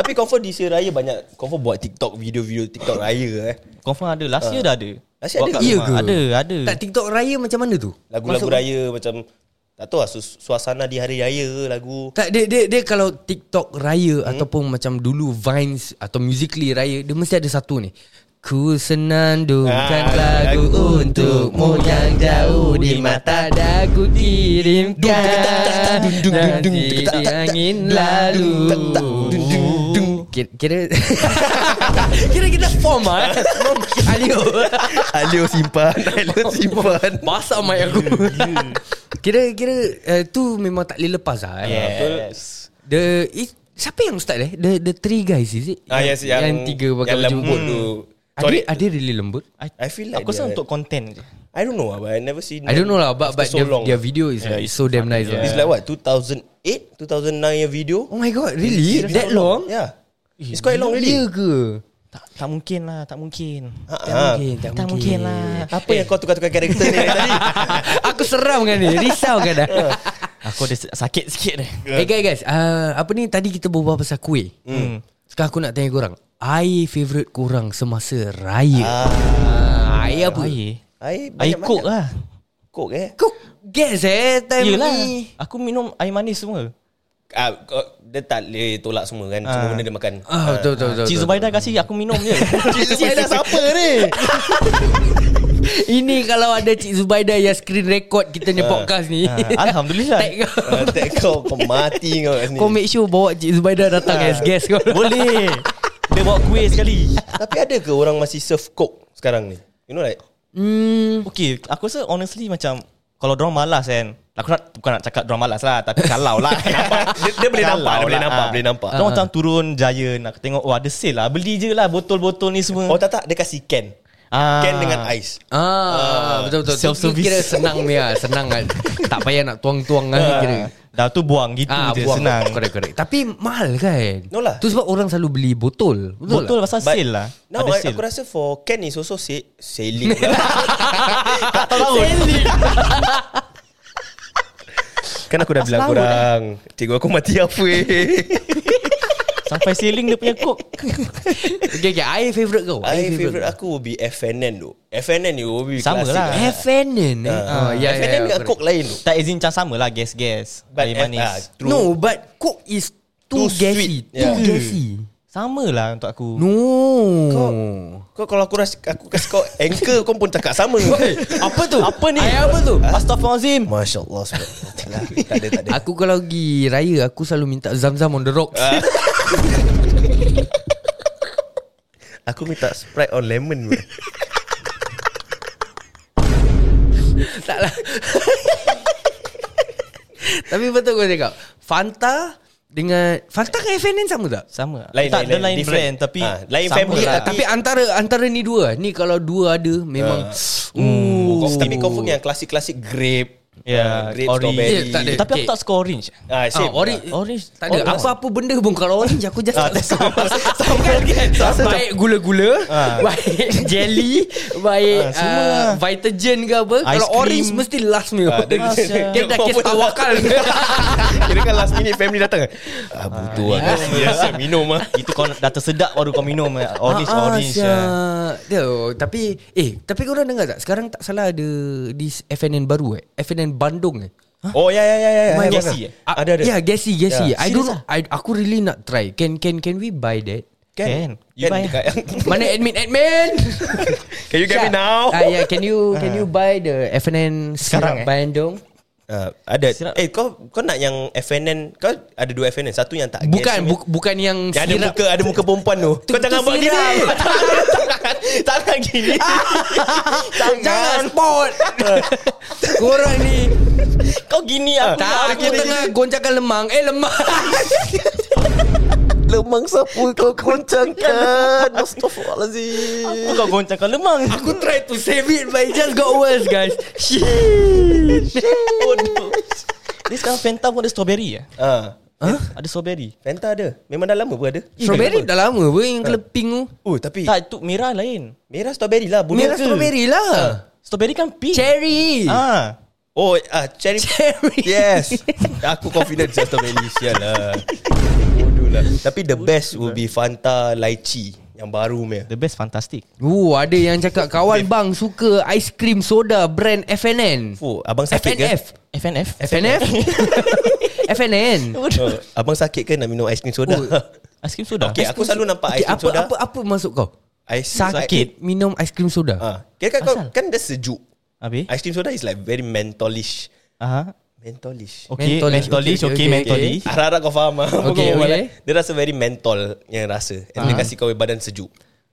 Speaker 6: Tapi confirm di year raya banyak Confirm buat TikTok Video-video TikTok raya eh
Speaker 2: Confirm ada Last year dah ada
Speaker 6: Last year
Speaker 2: Buat
Speaker 6: ada?
Speaker 2: kat
Speaker 7: Ya
Speaker 2: rumah.
Speaker 7: ke?
Speaker 2: Ada ada
Speaker 7: Tak TikTok raya macam mana tu?
Speaker 6: Lagu-lagu raya macam Tak tahu lah su- Suasana di hari raya ke lagu
Speaker 7: Tak dia, dia, dia kalau TikTok raya hmm. Ataupun macam dulu Vines Atau Musical.ly raya Dia mesti ada satu ni Ku senandungkan
Speaker 6: Ah,
Speaker 7: lagu
Speaker 6: lagu
Speaker 7: untukmu yang jauh di mata daku kirimkan nanti di angin lalu. Kira kira, kira kita form ah. eh. Form Alio.
Speaker 6: Alio simpan Alio simpan
Speaker 7: Basah mic aku. Kira kira uh, tu memang tak boleh lepas lah. eh.
Speaker 6: Yes
Speaker 7: The it, siapa yang start eh? The the three guys is it?
Speaker 6: Ah, yes, yang-
Speaker 7: yang tiga pakai
Speaker 6: yang
Speaker 7: baju Hmm.
Speaker 6: lembut tu.
Speaker 7: Ada
Speaker 6: Sorry.
Speaker 7: ada really lembut.
Speaker 6: I feel like
Speaker 2: Aku rasa
Speaker 6: dia-
Speaker 2: untuk content je
Speaker 6: I don't know lah, But I never seen
Speaker 7: I don't know lah but,
Speaker 6: It's
Speaker 7: but
Speaker 6: so
Speaker 7: their,
Speaker 6: long.
Speaker 7: their video is like so damn nice.
Speaker 6: It's
Speaker 7: Yeah.
Speaker 6: like what 2008 2009 yang video
Speaker 7: Oh my god, really?
Speaker 6: It's
Speaker 7: That
Speaker 6: so
Speaker 7: long?
Speaker 6: Yeah It's quite long
Speaker 7: Ya
Speaker 6: already
Speaker 7: ke?
Speaker 2: Tak, tak mungkin lah Tak mungkin
Speaker 6: Ah, ah.
Speaker 7: tak,
Speaker 2: Tak mungkin lah
Speaker 6: Apa yang kau tukar-tukar karakter ni dari tadi
Speaker 7: Aku seram kan ni Risau kan dah
Speaker 2: Aku ada sakit sikit dah
Speaker 7: Hey guys guys uh, Apa ni tadi kita berbual pasal kuih hmm. Sekarang aku nak tanya korang I favourite korang semasa raya ah, I apa? Raya.
Speaker 6: Air
Speaker 2: Air
Speaker 6: banyak-banyak.
Speaker 2: kok lah
Speaker 6: Kok eh
Speaker 7: Kau guess eh time
Speaker 2: Yelah
Speaker 7: ni
Speaker 2: Aku minum air manis semua
Speaker 6: ah, kau- Dia tak boleh tolak semua kan Semua benda dia makan
Speaker 7: Ah, betul, betul, betul,
Speaker 2: Cik
Speaker 7: betul.
Speaker 2: Zubaida kasih aku minum je
Speaker 6: Cik Zubaida siapa ni
Speaker 7: Ini kalau ada Cik Zubaida yang screen record kita
Speaker 6: Ha.
Speaker 7: ni podcast ni.
Speaker 2: Ah, Alhamdulillah
Speaker 7: Tag kau.
Speaker 6: Ah, Tak kau Kau mati kau kat sini
Speaker 7: Kau make sure bawa Cik Zubaida datang
Speaker 6: Ha.
Speaker 7: as guest kau.
Speaker 2: Boleh Dia bawa kuih sekali
Speaker 6: Tapi ada ke orang masih serve coke sekarang ni? You know like
Speaker 7: Hmm.
Speaker 2: Okay Aku rasa honestly macam Kalau dorang malas kan Aku nak, bukan nak cakap dorang malas lah Tapi kalau lah ah.
Speaker 6: dia, dia boleh nampak, dia boleh nampak, boleh nampak. Ah.
Speaker 2: Dorang macam turun Giant Aku tengok Oh ada sale lah Beli je lah botol-botol ni semua
Speaker 6: Oh tak tak dia kasih can.
Speaker 2: Ah.
Speaker 6: Can dengan ais. Ha.
Speaker 7: Ah, betul betul.
Speaker 2: self
Speaker 7: Self
Speaker 2: service.
Speaker 7: kira senang ya, senang kan. tak payah nak tuang-tuang kan
Speaker 6: Ha.
Speaker 7: kira.
Speaker 2: Ah, Dah tu buang gitu
Speaker 7: Ah,
Speaker 2: je
Speaker 7: buang.
Speaker 2: Senang
Speaker 6: lah.
Speaker 7: Correct correct. Tapi mahal kan?
Speaker 6: No lah.
Speaker 7: Tu sebab orang selalu beli botol. Betul.
Speaker 2: Botol
Speaker 7: lah.
Speaker 2: pasal sale lah
Speaker 6: No,
Speaker 2: Ada
Speaker 6: I,
Speaker 2: sale
Speaker 6: aku rasa for can is also say, sailing. lah.
Speaker 2: Tak tahu laut
Speaker 6: kan aku dah bilang korang, cikgu aku mati apa eh.
Speaker 2: Sampai sailing dia punya kok
Speaker 7: Okay okay, I favourite kau.
Speaker 6: I favourite aku will be FNN tu. FNN you will be
Speaker 2: Sama
Speaker 6: classic.
Speaker 2: lah.
Speaker 6: Eh,
Speaker 7: FNN eh. Ah, ya ya.
Speaker 6: FNN
Speaker 7: ya,
Speaker 6: dengan
Speaker 7: correct.
Speaker 6: coke lain tu.
Speaker 2: Tak izin macam sama lah Gas-gas Air
Speaker 6: F- ah,
Speaker 2: manis
Speaker 6: true.
Speaker 7: No, but Coke is too,
Speaker 6: Too
Speaker 7: gassy,
Speaker 6: sweet.
Speaker 7: too
Speaker 6: Yeah.
Speaker 7: gassy.
Speaker 2: Sama lah untuk aku
Speaker 7: No.
Speaker 6: Kau kalau aku rasa aku kasi kau anchor kau pun cakap sama.
Speaker 7: Apa tu?
Speaker 2: Apa ni?
Speaker 7: Ayat apa tu?
Speaker 6: Ah.
Speaker 2: Astaghfirullahalazim
Speaker 6: Masya-Allah. subhanallah. tak ada tak ada.
Speaker 7: Aku kalau pergi raya Aku selalu minta zam-zam on the rocks
Speaker 6: Aku minta Sprite on lemon. bro.
Speaker 7: Tak lah Tapi betul kau cakap Fanta dengan Fakta dengan FNN sama tak? Ya,
Speaker 2: Sama lah.
Speaker 6: Lain, lain,
Speaker 2: tak, dia
Speaker 6: lain.
Speaker 2: lain
Speaker 6: Different.
Speaker 2: brand Tapi
Speaker 6: Ah, lain
Speaker 2: sama
Speaker 6: family
Speaker 2: lah.
Speaker 6: lah.
Speaker 7: Tapi antara antara ni dua Ni kalau dua ada Memang
Speaker 6: Oh.
Speaker 7: uh,
Speaker 6: Tapi confirm yang klasik-klasik grape.
Speaker 2: Ya,
Speaker 6: ah, grape,
Speaker 2: orange.
Speaker 6: strawberry.
Speaker 7: Eh, tak ada.
Speaker 2: Tapi aku
Speaker 7: Okay.
Speaker 2: tak suka orange
Speaker 6: Ah,
Speaker 7: Ah,
Speaker 6: same.
Speaker 7: orange,
Speaker 2: Orange.
Speaker 7: Tak ada
Speaker 2: Orange.
Speaker 7: Apa-apa benda pun Kalau orange aku just
Speaker 6: ah,
Speaker 7: tak sama Sama kan
Speaker 2: Sama.
Speaker 7: Baik gula-gula Baik jelly
Speaker 2: Ah,
Speaker 7: Baik
Speaker 2: semua
Speaker 7: ah,
Speaker 2: lah.
Speaker 7: Vitagen ke apa Kalau
Speaker 2: cream.
Speaker 7: orange Mesti last meal
Speaker 6: Ah, dia-
Speaker 7: Dia dah kes
Speaker 6: Apa-apa tak-
Speaker 7: tawakal
Speaker 6: Kira kan last minute family datang. Ah, butuh lah. Ya, saya minum lah.
Speaker 2: Itu kau dah tersedak Baru kau minum eh. Orange
Speaker 7: Ah, ah,
Speaker 2: Orange
Speaker 7: sia.
Speaker 2: ya.
Speaker 7: Dia, oh, tapi eh tapi korang dengar tak sekarang tak salah ada di FNN baru eh FNN Bandung eh
Speaker 6: Oh, ya, ya, ya. ya,
Speaker 7: My
Speaker 6: ya.
Speaker 7: God.
Speaker 6: Gassy, eh?
Speaker 7: Ah,
Speaker 6: Ada, ada.
Speaker 7: Yeah, gassy, gassy.
Speaker 6: Yeah.
Speaker 7: I don't know. Ya. I, aku really not try. Can can can we buy that?
Speaker 6: Kan?
Speaker 2: Can You
Speaker 6: Can,
Speaker 2: buy
Speaker 6: dekat,
Speaker 7: Mana admin admin?
Speaker 6: can you get me now?
Speaker 7: Ah yeah, can you can you buy the
Speaker 2: Sekarang,
Speaker 7: FNN sekarang
Speaker 2: eh?
Speaker 7: Bandung?
Speaker 6: Ah, ada.
Speaker 2: Sirap.
Speaker 6: Eh, kau kau nak yang FNN, kau ada dua FNN. Satu yang tak gassy,
Speaker 7: Bukan bu, bukan
Speaker 6: eh?
Speaker 7: yang
Speaker 6: Yang ada
Speaker 7: sirap.
Speaker 6: muka ada muka perempuan tu. Kau
Speaker 7: tu
Speaker 6: jangan buat gini.
Speaker 7: sirap.
Speaker 6: Tangan gini.
Speaker 7: Jangan spot. Korang ni
Speaker 6: Kau gini ah.
Speaker 7: tak aku tengah goncakan lemang. Eh lemang.
Speaker 3: Lemang sapu kau goncangkan. Astaghfirullahalazim.
Speaker 2: Apa kau goncangkan lemang
Speaker 7: aku try to save it but it just got worse guys.
Speaker 2: Bodoh Dia sekarang Fanta pun ada strawberry ya?
Speaker 6: Ah. Eh,
Speaker 2: Ada strawberry
Speaker 6: Fanta ada. Memang dah lama pun ada.
Speaker 7: Strawberry dah lama pun yang keleping tu.
Speaker 6: Oh, tapi
Speaker 2: Tak itu merah lain
Speaker 6: merah strawberry lah. Bodoh
Speaker 7: Merah
Speaker 6: ke?
Speaker 7: strawberry lah.
Speaker 2: Strawberry kan pink
Speaker 7: Cherry.
Speaker 2: Ah,
Speaker 6: Oh, ah cherry.
Speaker 7: Cherry.
Speaker 6: Yes. Aku confident just strawberry sial lah. Bodoh lah. Tapi the best will be Fanta lychee yang baru punya.
Speaker 2: The best fantastic
Speaker 7: Oh, ada yang cakap kawan bang suka ais krim soda brand FNN.
Speaker 6: Oh, abang sakit ke?
Speaker 7: FNF.
Speaker 2: FNF
Speaker 7: FNF. FNN.
Speaker 6: Oh, abang sakit ke nak minum ais krim soda?
Speaker 7: Oh.
Speaker 2: Ice cream soda
Speaker 6: Okay, aku selalu nampak
Speaker 7: Okay,
Speaker 6: ais krim
Speaker 7: apa,
Speaker 6: soda.
Speaker 7: apa apa maksud kau?
Speaker 6: Ais
Speaker 7: Sakit minum ais krim soda.
Speaker 6: Ah, kira kan kau
Speaker 2: Asal?
Speaker 6: kan dia sejuk.
Speaker 2: Habis
Speaker 6: Ice cream soda is like very mentolish.
Speaker 2: Aha.
Speaker 6: Mentolish.
Speaker 2: Okay
Speaker 7: Mentol.
Speaker 2: Mentolish
Speaker 7: Okay,
Speaker 2: Okay
Speaker 7: okay,
Speaker 2: mentolish
Speaker 6: Harap-harap kau faham lah.
Speaker 7: Okay,
Speaker 6: Kau-
Speaker 7: okay.
Speaker 6: Dia rasa very mentol yang rasa. And
Speaker 7: Ah.
Speaker 6: dia kasih kau badan sejuk.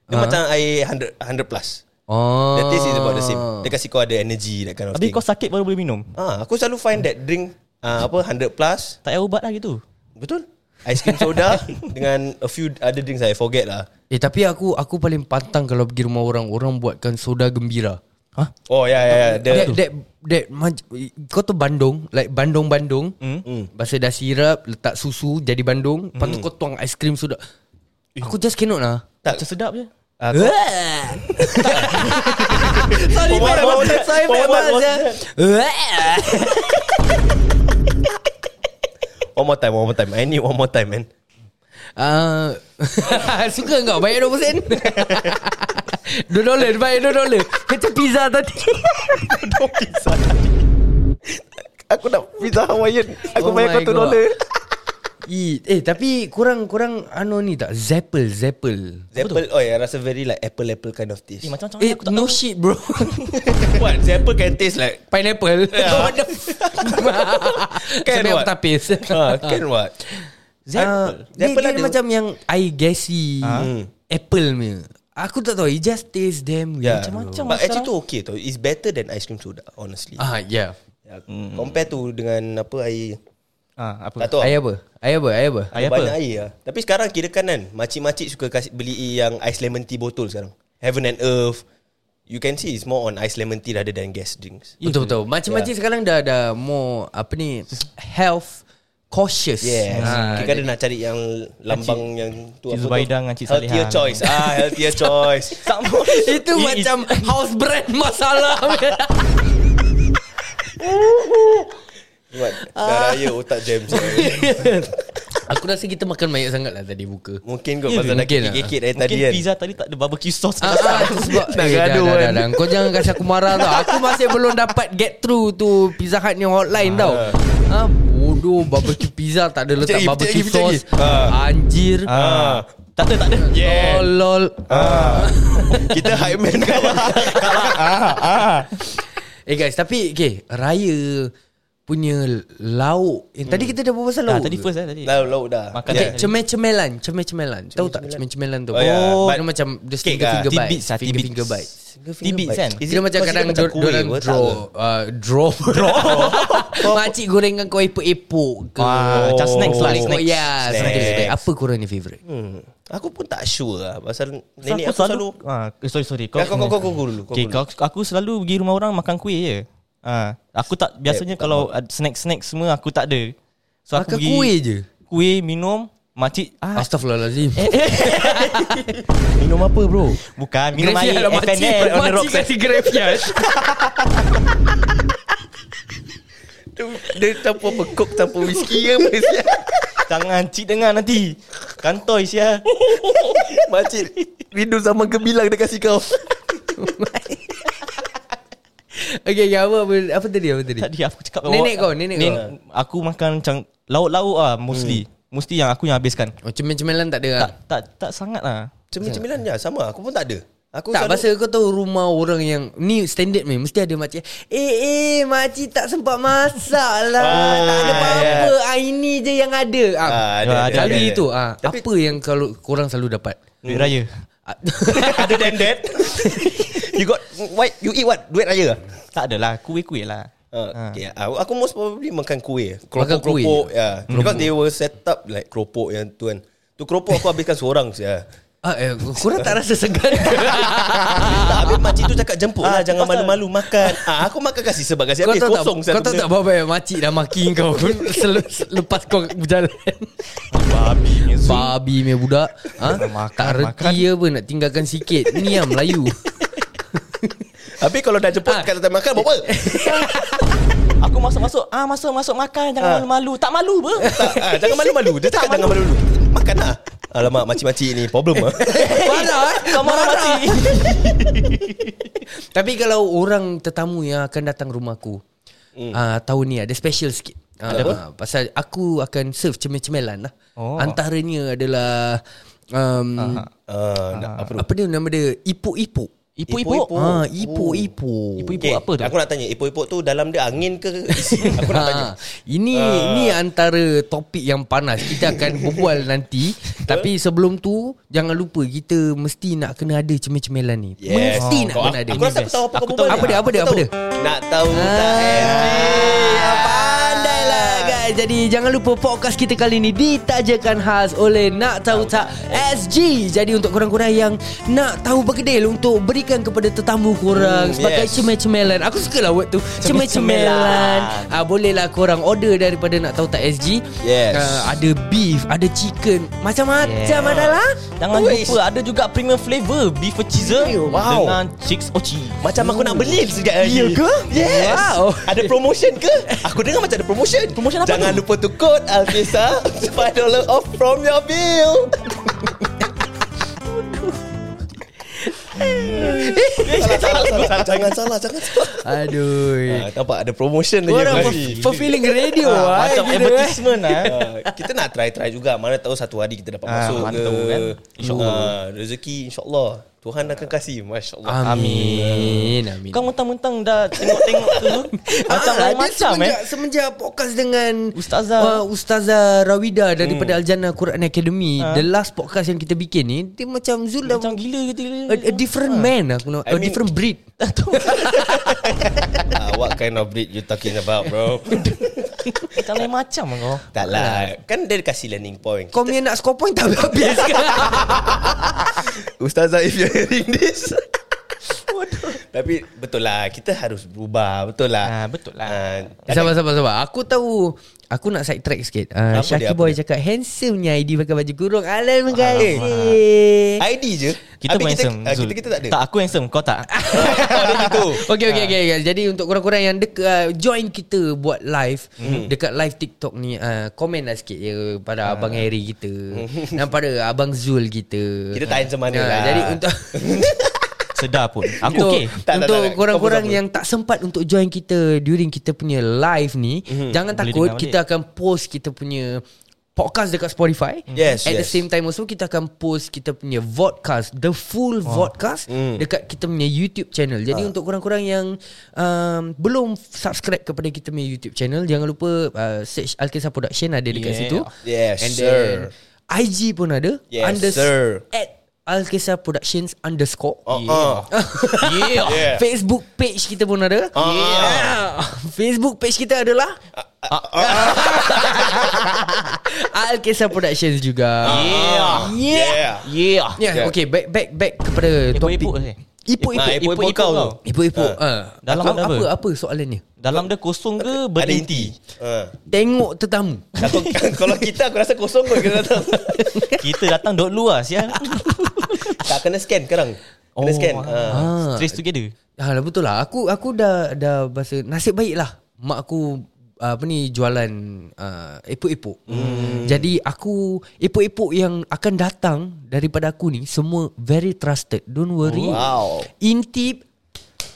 Speaker 6: Dia macam air 100, 100 plus.
Speaker 7: Oh.
Speaker 6: The taste is about the same.
Speaker 7: Ah.
Speaker 6: Dia kasih kau ada energy that kind of
Speaker 2: Habis
Speaker 6: thing.
Speaker 2: kau sakit baru boleh minum
Speaker 6: Ah, aku selalu find that drink ah, apa 100 plus.
Speaker 2: Tak payah ubat lah gitu
Speaker 6: Betul? Ice cream soda dengan a few other drinks I forget lah.
Speaker 7: Eh tapi aku aku paling pantang kalau pergi rumah orang orang buatkan soda gembira.
Speaker 2: Hah?
Speaker 6: Oh ya ya ya. The,
Speaker 7: That, that, that, maj- kau tu Bandung Like Bandung-Bandung
Speaker 6: Hmm.
Speaker 7: mm. Bahasa dah sirap Letak susu Jadi Bandung Lepas
Speaker 6: Hmm.
Speaker 7: tu kau tuang ais krim soda
Speaker 6: Eh.
Speaker 7: Aku just cannot lah
Speaker 6: tak, Ah,
Speaker 2: Macam sedap je
Speaker 7: Sorry
Speaker 6: Forward, forward,
Speaker 7: Bad Abang Sorry Bad
Speaker 6: forward,
Speaker 7: Abang eh.
Speaker 6: one more time, one more time. I need one more time, man.
Speaker 7: Ah, Suka kau Bayar 2% sen Dua dolar Bayar dua dolar Macam pizza tadi
Speaker 3: Aku nak pizza Hawaiian. Aku
Speaker 7: Oh
Speaker 3: bayar
Speaker 7: my
Speaker 3: kau tu
Speaker 7: God.
Speaker 3: dolar.
Speaker 7: Eat. Eh tapi Kurang Kurang Ano ni tak Zappel Zappel
Speaker 6: Apple, oh yeah, rasa very like apple apple kind of taste.
Speaker 2: Eh macam-macam
Speaker 7: Eh
Speaker 2: aku tak tahu
Speaker 7: no shit bro
Speaker 6: What? Si apple can taste like
Speaker 7: Pineapple What the
Speaker 6: Can
Speaker 7: Kan
Speaker 6: what?
Speaker 7: what tapis
Speaker 6: Ah, can what? uh,
Speaker 7: Apple.
Speaker 6: Apple
Speaker 7: Dia, dia,
Speaker 6: ada-
Speaker 7: dia macam yang I gassy Hmm. Apple punya Aku tak tahu It just taste damn
Speaker 6: Yeah.
Speaker 7: weird
Speaker 2: Macam-macam
Speaker 6: Ya. But actually
Speaker 2: sekarang.
Speaker 6: tu okay tau. It's better than ice cream soda, honestly.
Speaker 7: Ah yeah
Speaker 6: Yeah. Compare tu dengan apa air
Speaker 2: Ah, apa?
Speaker 6: tak tahu.
Speaker 7: Air apa Air apa Air apa
Speaker 2: Air
Speaker 6: Air
Speaker 2: apa?
Speaker 6: banyak air lah. Tapi sekarang kira kan kan Makcik-makcik suka kasih, beli yang Ice lemon tea botol sekarang Heaven and Earth You can see it's more on ice lemon tea Rather than gas drinks
Speaker 7: Betul-betul Macam-macam sekarang dah Dah more Apa ni Health Cautious
Speaker 6: Yes ha,
Speaker 7: Ah,
Speaker 6: Kita nak cari yang Lambang yang tu apa
Speaker 2: Cik
Speaker 6: tu?
Speaker 2: Zubaidah dengan Cik
Speaker 6: Healthier
Speaker 2: Salihah.
Speaker 6: choice ah, Healthier choice Sama
Speaker 7: Itu macam House brand masalah
Speaker 6: Dah raya otak jam saya.
Speaker 7: Aku rasa kita makan banyak sangat lah Tadi buka
Speaker 6: Mungkin kot
Speaker 7: Ya,
Speaker 6: Pasal dah
Speaker 7: mungkin lah.
Speaker 6: kikit-kikit dari tadi
Speaker 2: Mungkin
Speaker 6: kan
Speaker 2: pizza tadi tak ada barbecue sauce
Speaker 7: Ah, ah, tu sebab
Speaker 6: Nak
Speaker 7: eh, dah,
Speaker 6: gaduh
Speaker 7: dah, dah,
Speaker 6: kan.
Speaker 7: dah. Kau jangan kasi aku marah tau Aku masih belum dapat get through tu Pizza Hut ni hotline tau ha, Bodoh barbecue pizza Tak ada
Speaker 6: Kejap
Speaker 7: letak
Speaker 6: lagi,
Speaker 7: barbecue
Speaker 6: kejap lagi,
Speaker 7: sauce
Speaker 6: kejap lagi.
Speaker 7: Anjir
Speaker 2: Ah. Tak ada tak ada
Speaker 7: Oh lol
Speaker 6: Kita hype man kalah
Speaker 7: Eh guys tapi okay, Raya punya lauk. Yang tadi kita dah berbual pasal
Speaker 2: Dah
Speaker 7: lauk.
Speaker 2: Hmm. tadi
Speaker 7: ke?
Speaker 2: first eh tadi.
Speaker 6: Lauk lauk dah
Speaker 2: Makan
Speaker 7: Okay,
Speaker 2: tadi.
Speaker 7: cemel-cemelan, cemel-cemelan. Tahu tak cemel-cemelan tu?
Speaker 6: Oh, ya.
Speaker 7: Oh,
Speaker 6: But-
Speaker 7: dia macam dia
Speaker 6: Cake
Speaker 7: finger
Speaker 6: ah,
Speaker 7: finger bite.
Speaker 2: tidbits lah,
Speaker 7: Finger
Speaker 2: tidbits.
Speaker 7: finger bite.
Speaker 2: Tidbits kan?
Speaker 7: Dia macam kadang dia orang draw uh, draw draw. Makcik gorengkan kau epok-epok ke.
Speaker 2: Ah, macam snacks lah,
Speaker 7: Goreng-
Speaker 2: snacks.
Speaker 7: Ya,
Speaker 6: Snacks.
Speaker 7: snacks. Snacks. Apa korang ni favourite?
Speaker 6: Hmm. Aku pun tak sure lah Pasal
Speaker 2: So,
Speaker 6: nenek aku selalu
Speaker 2: ah, eh, Sorry sorry
Speaker 6: Kau- kau- kau- kau- kau dulu, kau
Speaker 2: okay,
Speaker 6: dulu.
Speaker 2: kau, Aku selalu pergi rumah orang Makan kuih je ah, Aku tak Biasanya
Speaker 6: tak
Speaker 2: kalau ada Snack-snack semua Aku tak ada So aku
Speaker 7: Makan
Speaker 2: pergi
Speaker 7: kuih je?
Speaker 2: Kuih minum Makcik ah,
Speaker 7: Astaghfirullahalazim.
Speaker 6: Minum apa bro?
Speaker 2: Bukan Minum air
Speaker 7: Graveyard lah, makcik.
Speaker 2: FNL On the
Speaker 7: Makcik kan?
Speaker 2: rocks
Speaker 7: kasi graveyard.
Speaker 6: Dia tanpa bekuk Tanpa whisky ke apa sia?
Speaker 2: Jangan cik dengar nanti Kantoi sia
Speaker 6: Makcik Rindu zaman kebilang dia kasih kau
Speaker 7: Okay, okay, apa, apa, apa tadi? Apa tadi?
Speaker 2: Tadi aku cakap
Speaker 7: Nenek kau, nenek kau.
Speaker 2: Aku makan macam Lauk-lauk lah Mostly Mostly yang aku yang habiskan
Speaker 7: Oh, cemel-cemelan tak ada
Speaker 2: Tak
Speaker 7: tak,
Speaker 2: tak tak sangat lah
Speaker 6: Cemil-cemilan je Sama aku pun tak ada Aku
Speaker 7: tak
Speaker 6: selalu-
Speaker 7: pasal kau tahu rumah orang yang Ni standard ni Mesti ada makcik Eh eh makcik tak sempat masak lah
Speaker 6: Ah,
Speaker 7: Tak ada
Speaker 6: ya.
Speaker 7: apa-apa ah, Ini je yang ada ah,
Speaker 6: Ah,
Speaker 2: ada, ada,
Speaker 7: Kali
Speaker 6: ada, ada.
Speaker 7: tu ah,
Speaker 6: Tapi-
Speaker 7: Apa yang kalau korang selalu dapat
Speaker 2: Duit raya
Speaker 7: Ah,
Speaker 6: Other than that You got What You eat what Duit raya ah?
Speaker 2: Tak adalah Kuih-kuih lah
Speaker 6: Uh,
Speaker 2: Ah.
Speaker 6: okay. uh, aku most probably makan kuih
Speaker 7: Makan kuih.
Speaker 6: Keropok-keropok ya. yeah. Because they were set up Like keropok yang tu kan Tu keropok aku habiskan seorang saja.
Speaker 7: ah, eh, Korang tak rasa segan ke
Speaker 6: tak habis makcik tu cakap jemput
Speaker 2: Ah,
Speaker 6: lah
Speaker 2: tu
Speaker 6: Jangan
Speaker 2: pasal.
Speaker 6: malu-malu makan ah, Aku makan kasih sebab kasih
Speaker 7: Kau
Speaker 6: habis
Speaker 7: tahu tak
Speaker 6: Kosong
Speaker 7: Kau tahu tak berapa yang makcik dah maki kau sel- Lepas kau berjalan
Speaker 2: Babi punya zoo.
Speaker 7: Babi punya budak ha?
Speaker 2: Makan,
Speaker 7: Tak
Speaker 2: makan.
Speaker 7: reti apa Nak tinggalkan sikit Ni yang Melayu
Speaker 6: Habis kalau dah jemput
Speaker 7: Ah.
Speaker 6: Kat datang makan buat apa
Speaker 2: Aku masuk-masuk Ah masuk-masuk makan Jangan
Speaker 6: Ah.
Speaker 2: malu-malu Tak malu apa
Speaker 6: tak, ah, Jangan malu-malu Dia cakap jangan malu-malu Makan lah Alamak makcik-makcik ni Problem lah
Speaker 7: Marah eh
Speaker 2: Kau marah mati
Speaker 7: Tapi kalau orang tetamu yang akan datang rumahku hmm. uh, Tahun ni ada special sikit uh, ada apa? Pasal aku akan serve cemel-cemelan lah
Speaker 2: Oh.
Speaker 7: oh. Antaranya adalah um,
Speaker 6: uh, Apa tu
Speaker 7: Apa dia nama dia Ipuk-ipuk
Speaker 2: Ipuk-ipuk?
Speaker 6: Oh.
Speaker 7: ha, Ipuk-ipuk
Speaker 2: Ipuk-ipuk apa tu?
Speaker 6: Aku nak tanya Ipuk-ipuk tu dalam dia angin ke isi? Aku nak tanya Ah.
Speaker 7: Ha, ini uh. ini antara topik yang panas kita akan berbual nanti. Tapi sebelum tu jangan lupa kita mesti nak kena ada cemel-cemelan ni.
Speaker 6: Yes.
Speaker 7: Mesti nak
Speaker 6: Kau-
Speaker 7: kena ada.
Speaker 6: Aku rasa aku tahu apa kau
Speaker 7: Aku tahu.
Speaker 6: berbual
Speaker 7: Apa dia, apa dia,
Speaker 6: Aku
Speaker 7: apa dia?
Speaker 6: tahu. Nak tahu tak
Speaker 2: eh.
Speaker 7: Ah, pandai lah guys. Jadi jangan lupa podcast kita kali ni ditajakan khas oleh Nak Tahu Tak SG. Jadi untuk korang-korang yang nak tahu bergedil untuk berikan kepada tetamu korang
Speaker 6: Hmm,
Speaker 7: sebagai
Speaker 6: yes.
Speaker 7: cemel-cemelan. Aku suka lah word tu. Cemel-cemelan. Ah bolehlah korang order daripada Nak Tahu Tak SG.
Speaker 6: Yes.
Speaker 7: Ah, ada beef, ada chicken, macam-macam
Speaker 2: Yeah.
Speaker 7: adalah.
Speaker 2: Jangan
Speaker 6: Wais.
Speaker 2: lupa Ada juga premium flavour Beef cheeser
Speaker 6: Wow.
Speaker 2: Dengan chicks ochi
Speaker 6: Macam aku nak beli sejak hari
Speaker 2: Ya ke?
Speaker 6: Yes
Speaker 7: Wow.
Speaker 6: Ada promotion ke? Aku dengar macam ada promotion
Speaker 2: Promotion apa
Speaker 6: Jangan
Speaker 2: tu?
Speaker 6: lupa to code Alkisa $5 off from your bill salah, salah, salah, salah. Jangan salah Jangan salah
Speaker 7: Aduh.
Speaker 6: Ah, Nampak ada promotion lagi
Speaker 7: Korang
Speaker 6: apa
Speaker 7: per- fulfilling radio
Speaker 2: Ah,
Speaker 7: ah,
Speaker 2: Macam
Speaker 7: gitu, eh.
Speaker 2: advertisement lah
Speaker 6: Ah, kita nak try-try juga Mana tahu satu hari kita dapat
Speaker 2: Ah,
Speaker 6: masuk
Speaker 2: mana
Speaker 6: ke
Speaker 2: tahu kan?
Speaker 6: InsyaAllah Rezeki insyaAllah Tuhan akan kasih Masya Allah
Speaker 7: ah. Amin. Amin.
Speaker 2: Kau mentang-mentang dah Tengok-tengok tu Macam
Speaker 7: Ah,
Speaker 2: lain
Speaker 7: dia
Speaker 2: macam eh
Speaker 7: semenjak, semenjak podcast dengan
Speaker 2: Ustazah.
Speaker 7: uh, Ustazah Rawida daripada hmm. Aljana Quran Academy the last podcast yang kita bikin ni dia macam Zul dah
Speaker 2: Ah. Macam Ah. gila gitu
Speaker 7: a, a different man aku nak,
Speaker 6: I
Speaker 7: a
Speaker 6: mean-
Speaker 7: different breed
Speaker 6: Ah, What kind of breed you talking about bro
Speaker 2: Macam lain macam lah kau
Speaker 6: Tak lah Kan dia kasi learning point
Speaker 7: kau punya nak score point tak habis kan
Speaker 6: Ustazah if you're hearing this Tapi betul lah Kita harus berubah Betul lah
Speaker 2: Ah, betul lah.
Speaker 6: Ah,
Speaker 7: sabar sabar sabar aku tahu aku nak side track sikit
Speaker 6: Apa
Speaker 7: uh,
Speaker 6: dia,
Speaker 7: Syaki
Speaker 6: apa
Speaker 7: Boy
Speaker 6: dia?
Speaker 7: cakap handsomenya ID pakai baju kurung alam kasih
Speaker 6: ID Ah, je
Speaker 2: Kita pun
Speaker 6: Habis
Speaker 2: handsome
Speaker 6: ah,
Speaker 2: Zul.
Speaker 6: kita, kita tak ada
Speaker 2: Tak aku handsome Kau tak
Speaker 6: Itu
Speaker 7: Okay okay okay guys. Jadi untuk korang-korang yang dek, uh, join kita buat live dekat live TikTok ni uh, komen lah sikit je pada abang Harry kita dan pada abang Zul kita.
Speaker 6: Kita tak handsome mana
Speaker 7: Ah,
Speaker 6: lah.
Speaker 7: Jadi untuk
Speaker 2: Sedar pun Aku
Speaker 7: untuk,
Speaker 2: okay
Speaker 6: Tak, tak,
Speaker 7: untuk
Speaker 6: tak, tak.
Speaker 7: korang-korang
Speaker 6: Kau pun
Speaker 7: yang tak sempat untuk join
Speaker 6: Mhm.
Speaker 7: kita during kita punya live ni, jangan
Speaker 2: Boleh
Speaker 7: takut
Speaker 2: dengar
Speaker 7: kita akan post kita punya podcast dekat Spotify.
Speaker 6: Yes,
Speaker 7: At the
Speaker 6: yes.
Speaker 7: same time also kita akan post kita punya vodcast, the full vodcast
Speaker 6: Mm.
Speaker 7: dekat kita punya YouTube channel. Jadi
Speaker 6: Ah.
Speaker 7: untuk korang-korang yang um, belum subscribe kepada kita punya YouTube channel, jangan lupa uh, search Alkisah Production ada dekat
Speaker 2: Yeah.
Speaker 7: situ.
Speaker 6: Yes,
Speaker 7: And
Speaker 6: sir.
Speaker 7: then IG pun ada.
Speaker 6: Yes, sir.
Speaker 7: At Alkisah Productions underscore.
Speaker 6: Uh-uh.
Speaker 7: Yeah.
Speaker 6: Yeah. Ah.
Speaker 7: Facebook page kita pun ada. Yeah. Facebook page kita adalah
Speaker 6: Ah,
Speaker 7: Ah. Al Kisah Productions juga. Yeah. Yeah.
Speaker 6: Yeah.
Speaker 1: Yeah.
Speaker 7: Yeah,
Speaker 6: Ah. Yeah.
Speaker 7: okay back back back kepada topik.
Speaker 2: Epok-epok
Speaker 6: Ah,
Speaker 2: eh.
Speaker 7: Ipu-ipu.
Speaker 6: epok-epok
Speaker 2: Epok-epok
Speaker 6: kau Ah. tu.
Speaker 2: kau.
Speaker 7: Ipu-ipu.
Speaker 2: Dalam
Speaker 7: Dalam Ah. apa,
Speaker 2: ada
Speaker 7: apa
Speaker 2: apa?
Speaker 7: apa soalannya?
Speaker 2: Dalam dia kosong ke
Speaker 6: Ada
Speaker 2: berhenti?
Speaker 6: inti. Uh.
Speaker 7: Tengok tetamu.
Speaker 6: Aku, kalau kita aku rasa kosong kot kita datang.
Speaker 2: Kita datang dok luar sial.
Speaker 6: tak kena scan sekarang. Kena scan.
Speaker 7: Oh,
Speaker 6: Uh.
Speaker 2: Ah. Stress together.
Speaker 7: Ha lah betul lah. Aku aku dah dah bahasa nasib baik lah. Mak aku uh, apa ni jualan uh, epok-epok. Hmm. Jadi aku epok-epok yang akan datang daripada aku ni semua very trusted. Don't worry.
Speaker 6: Oh, Wow.
Speaker 7: Intip.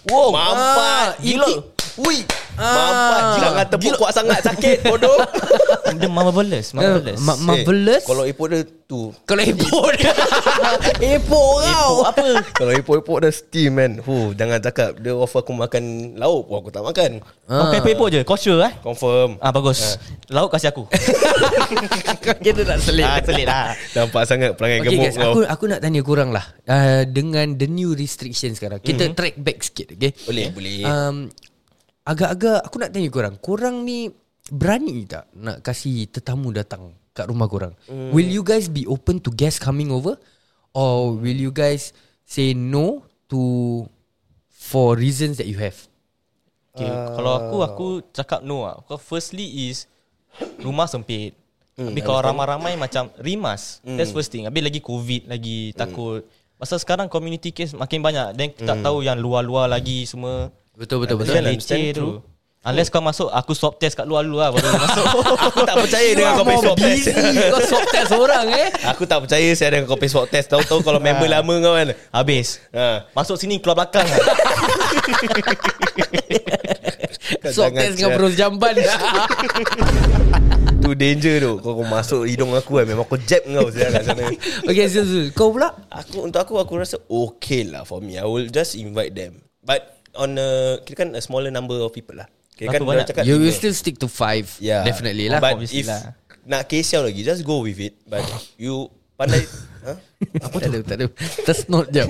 Speaker 6: Wow. Mampat.
Speaker 7: Ah,
Speaker 6: Gila.
Speaker 7: intip. Ui. ah.
Speaker 6: Mampat. Gila dengan tepuk kuat sangat sakit bodoh.
Speaker 2: Dia marvelous,
Speaker 7: Uh,
Speaker 2: marvelous.
Speaker 7: ma- marvelous.
Speaker 6: Eh, Kalau ipot dia tu.
Speaker 7: kalau epok dia. epok kau.
Speaker 6: apa? Kalau ipot-ipot dia steam man. Huh, jangan cakap dia offer aku makan lauk pun aku tak makan.
Speaker 2: Kau
Speaker 7: Ah.
Speaker 2: pepek je, kau sure eh?
Speaker 6: Confirm.
Speaker 2: Ah
Speaker 6: Eh.
Speaker 2: bagus. Lauk kasih aku.
Speaker 7: Kita tak selit.
Speaker 2: ah selit lah.
Speaker 6: Nampak sangat perangai
Speaker 7: Okay
Speaker 6: gemuk
Speaker 7: guys, aku aku nak tanya korang lah uh, dengan the new restriction sekarang. Kita mm-hmm. track back sikit, okay?
Speaker 6: Mhm. Boleh, boleh.
Speaker 7: Um agak-agak aku nak tanya korang, korang ni berani tak nak kasih tetamu datang kat rumah korang?
Speaker 6: Hmm.
Speaker 7: Mm. Will you guys be open to guests coming over or will you guys say no to for reasons that you have?
Speaker 2: Okay,
Speaker 6: Ah.
Speaker 2: uh, kalau aku aku cakap no ah. Kau firstly is rumah sempit.
Speaker 6: Hmm,
Speaker 2: Mm, Habis kalau ramai-ramai macam rimas. Mm. That's first thing. Habis lagi covid
Speaker 6: Hmm.
Speaker 2: lagi takut. Pasal sekarang community case makin banyak. Then kita tak tahu yang luar-luar lagi semua.
Speaker 7: Betul betul
Speaker 6: Hmm. betul.
Speaker 7: betul.
Speaker 6: Understand,
Speaker 2: Leceh
Speaker 6: understand,
Speaker 2: tu. Unless kau masuk aku swab test kat luar dulu lah baru masuk.
Speaker 6: aku tak percaya dengan kau punya
Speaker 7: Kau
Speaker 6: swab test.
Speaker 7: busy Kau swab test orang eh
Speaker 6: Aku tak percaya saya dengan kau punya swab test. Tahu-tahu kalau member lama kau kan.
Speaker 2: Habis.
Speaker 6: Ha.
Speaker 2: Masuk sini keluar belakang. lah.
Speaker 7: Swab
Speaker 6: Jangan
Speaker 7: test dengan
Speaker 6: sia.
Speaker 7: perut jamban
Speaker 6: Tu danger tu Kau, kau masuk hidung aku kan Memang kau jab kau Saya kat sana
Speaker 7: Okay Zul Kau pula
Speaker 6: Aku Untuk aku Aku rasa okay lah for me I will just invite them But On a Kira kan a smaller number of people lah Kira kan
Speaker 2: Berapa banyak?
Speaker 6: dia cakap Ya.
Speaker 7: You will
Speaker 6: lima.
Speaker 7: still stick to five
Speaker 6: yeah.
Speaker 7: Definitely lah
Speaker 6: But
Speaker 2: obviously
Speaker 6: if
Speaker 2: lah.
Speaker 6: Nak kesiau lagi Just go with it But you Pandai ha?
Speaker 7: Apa tak ada, tak ada Tersnot jap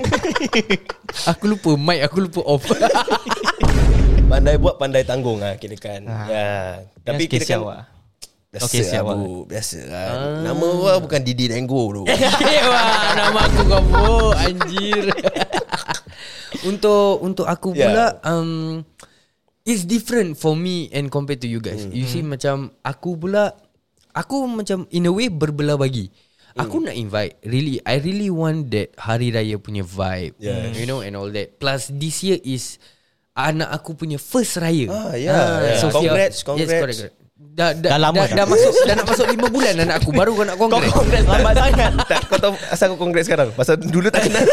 Speaker 7: Aku lupa mic Aku lupa off
Speaker 6: Pandai buat Pandai tanggung lah Kira kan
Speaker 7: Ah.
Speaker 6: ha. yeah. Tapi kira
Speaker 2: Yang ah.
Speaker 6: kan
Speaker 2: kesian
Speaker 7: Oh,
Speaker 2: awak.
Speaker 6: Biasa
Speaker 2: Okay,
Speaker 6: okay,
Speaker 2: siap,
Speaker 6: lah bu, Biasa lah
Speaker 7: Ah.
Speaker 6: Nama gua bukan Didi Dango tu
Speaker 7: Eh, Wah, Nama aku kau pun Anjir Ya. Untuk Untuk aku pula yeah. um, It's different for me And compared to you guys You see macam Aku pula Aku macam In a way berbelah bagi Aku nak invite Really I really want that Hari Raya punya vibe
Speaker 6: Yes.
Speaker 7: You know and all that Plus this year is Anak aku punya first raya
Speaker 6: Ah, yeah, yeah.
Speaker 7: Sophia-
Speaker 6: Congrats,
Speaker 7: Yes
Speaker 6: congrats.
Speaker 7: correct, correct. Dah, dah,
Speaker 2: Dah lama
Speaker 7: dah,
Speaker 2: dah.
Speaker 7: dah masuk dah nak masuk 5 bulan anak aku baru kau nak
Speaker 6: Kau
Speaker 7: congrats.
Speaker 6: kongres lambat sangat tak, Kau tahu asal kau kongres sekarang Pasal dulu tak kenal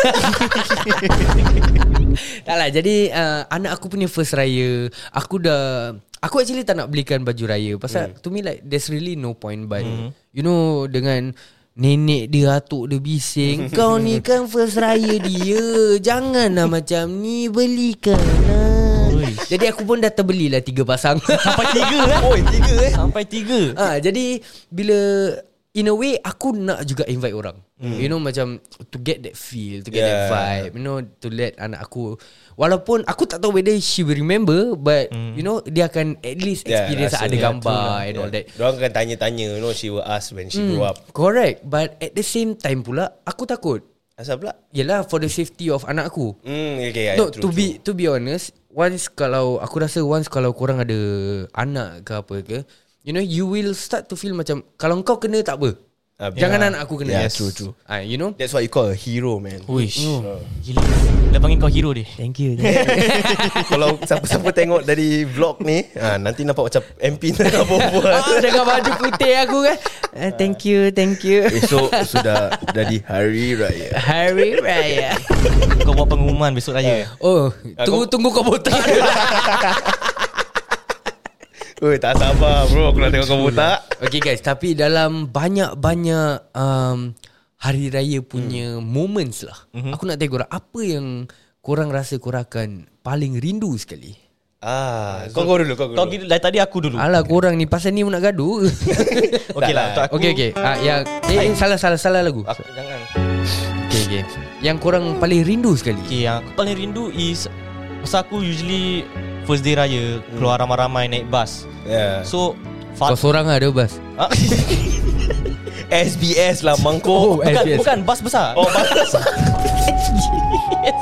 Speaker 7: Tak lah Jadi uh, Anak aku punya first raya Aku dah Aku actually tak nak belikan baju raya Pasal to me like There's really no point But You know Dengan Nenek dia Atuk dia bising Kau ni kan first raya dia Janganlah macam ni Belikan lah Jadi aku pun dah terbeli lah Tiga pasang
Speaker 2: Sampai tiga lah.
Speaker 6: Oi tiga eh
Speaker 2: Sampai tiga.
Speaker 7: Ah, jadi bila in a way aku nak juga invite orang. Mm. You know macam to get that feel, to get yeah. that
Speaker 6: Hmm. Yeah.
Speaker 7: vibe, you know to let anak aku walaupun aku tak tahu whether she will remember but mm. you know dia akan at least experience yeah,
Speaker 6: Hmm. rasa
Speaker 7: ada
Speaker 6: dia,
Speaker 7: gambar
Speaker 6: true lah.
Speaker 7: and yeah. all that. Hmm.
Speaker 6: Diorang akan tanya-tanya You know she will ask When she grow up
Speaker 7: Correct, but at the same time pula aku takut.
Speaker 6: Asal pula
Speaker 7: Yelah for the safety of anak aku.
Speaker 6: Hmm okay,
Speaker 7: No, to be to be honest, once kalau aku rasa once kalau korang ada anak ke apa ke, you know you will start to feel macam kalau kau kena tak apa.
Speaker 6: Ah,
Speaker 7: Jangan
Speaker 6: yeah.
Speaker 7: anak aku kena.
Speaker 6: Yeah, true, true.
Speaker 7: Ah, you know?
Speaker 6: That's what you call a hero man
Speaker 2: Uish.
Speaker 6: Oh.
Speaker 2: Gila. Dia panggil kau hero dia.
Speaker 7: Thank you.
Speaker 6: Kalau siapa-siapa tengok dari vlog ni ha, Nanti nampak macam MP tengah berbual
Speaker 7: Ah, dengan baju putih aku kan. Ah, thank you, thank you.
Speaker 6: Esok sudah Dari hari raya
Speaker 7: Hari Raya.
Speaker 2: Kau buat pengumuman
Speaker 6: Eh.
Speaker 2: besok raya.
Speaker 7: Oh, tunggu tunggu kau botak.
Speaker 6: Ui, tak sabar bro Aku nak tengok kau botak
Speaker 7: Okay guys Tapi dalam banyak-banyak um, Hari Raya punya moments lah Aku nak tanya korang Apa yang korang rasa korang akan Paling rindu sekali
Speaker 6: Ah, kau kau dulu, kau kau dulu.
Speaker 2: Kau
Speaker 6: Ah.
Speaker 2: gini dari tadi aku dulu.
Speaker 7: Alah korang ni Pasal ni pun nak gaduh
Speaker 2: Okey lah untuk aku.
Speaker 7: Okay okay ah, yang, eh, eh, Salah salah salah lagu
Speaker 2: Aku jangan.
Speaker 7: okay, okay. Yang korang paling rindu sekali
Speaker 2: Okay, yang aku paling rindu is pasal aku usually first day
Speaker 6: Hmm.
Speaker 2: raya keluar ramai-ramai naik bas.
Speaker 6: Yeah.
Speaker 2: So
Speaker 7: Kau
Speaker 2: fat-
Speaker 7: seorang lah dia bas
Speaker 2: Ah,
Speaker 6: SBS lah mangkuk.
Speaker 2: bukan
Speaker 7: SBS.
Speaker 2: bukan bas besar.
Speaker 6: Oh, batas.
Speaker 2: SBS.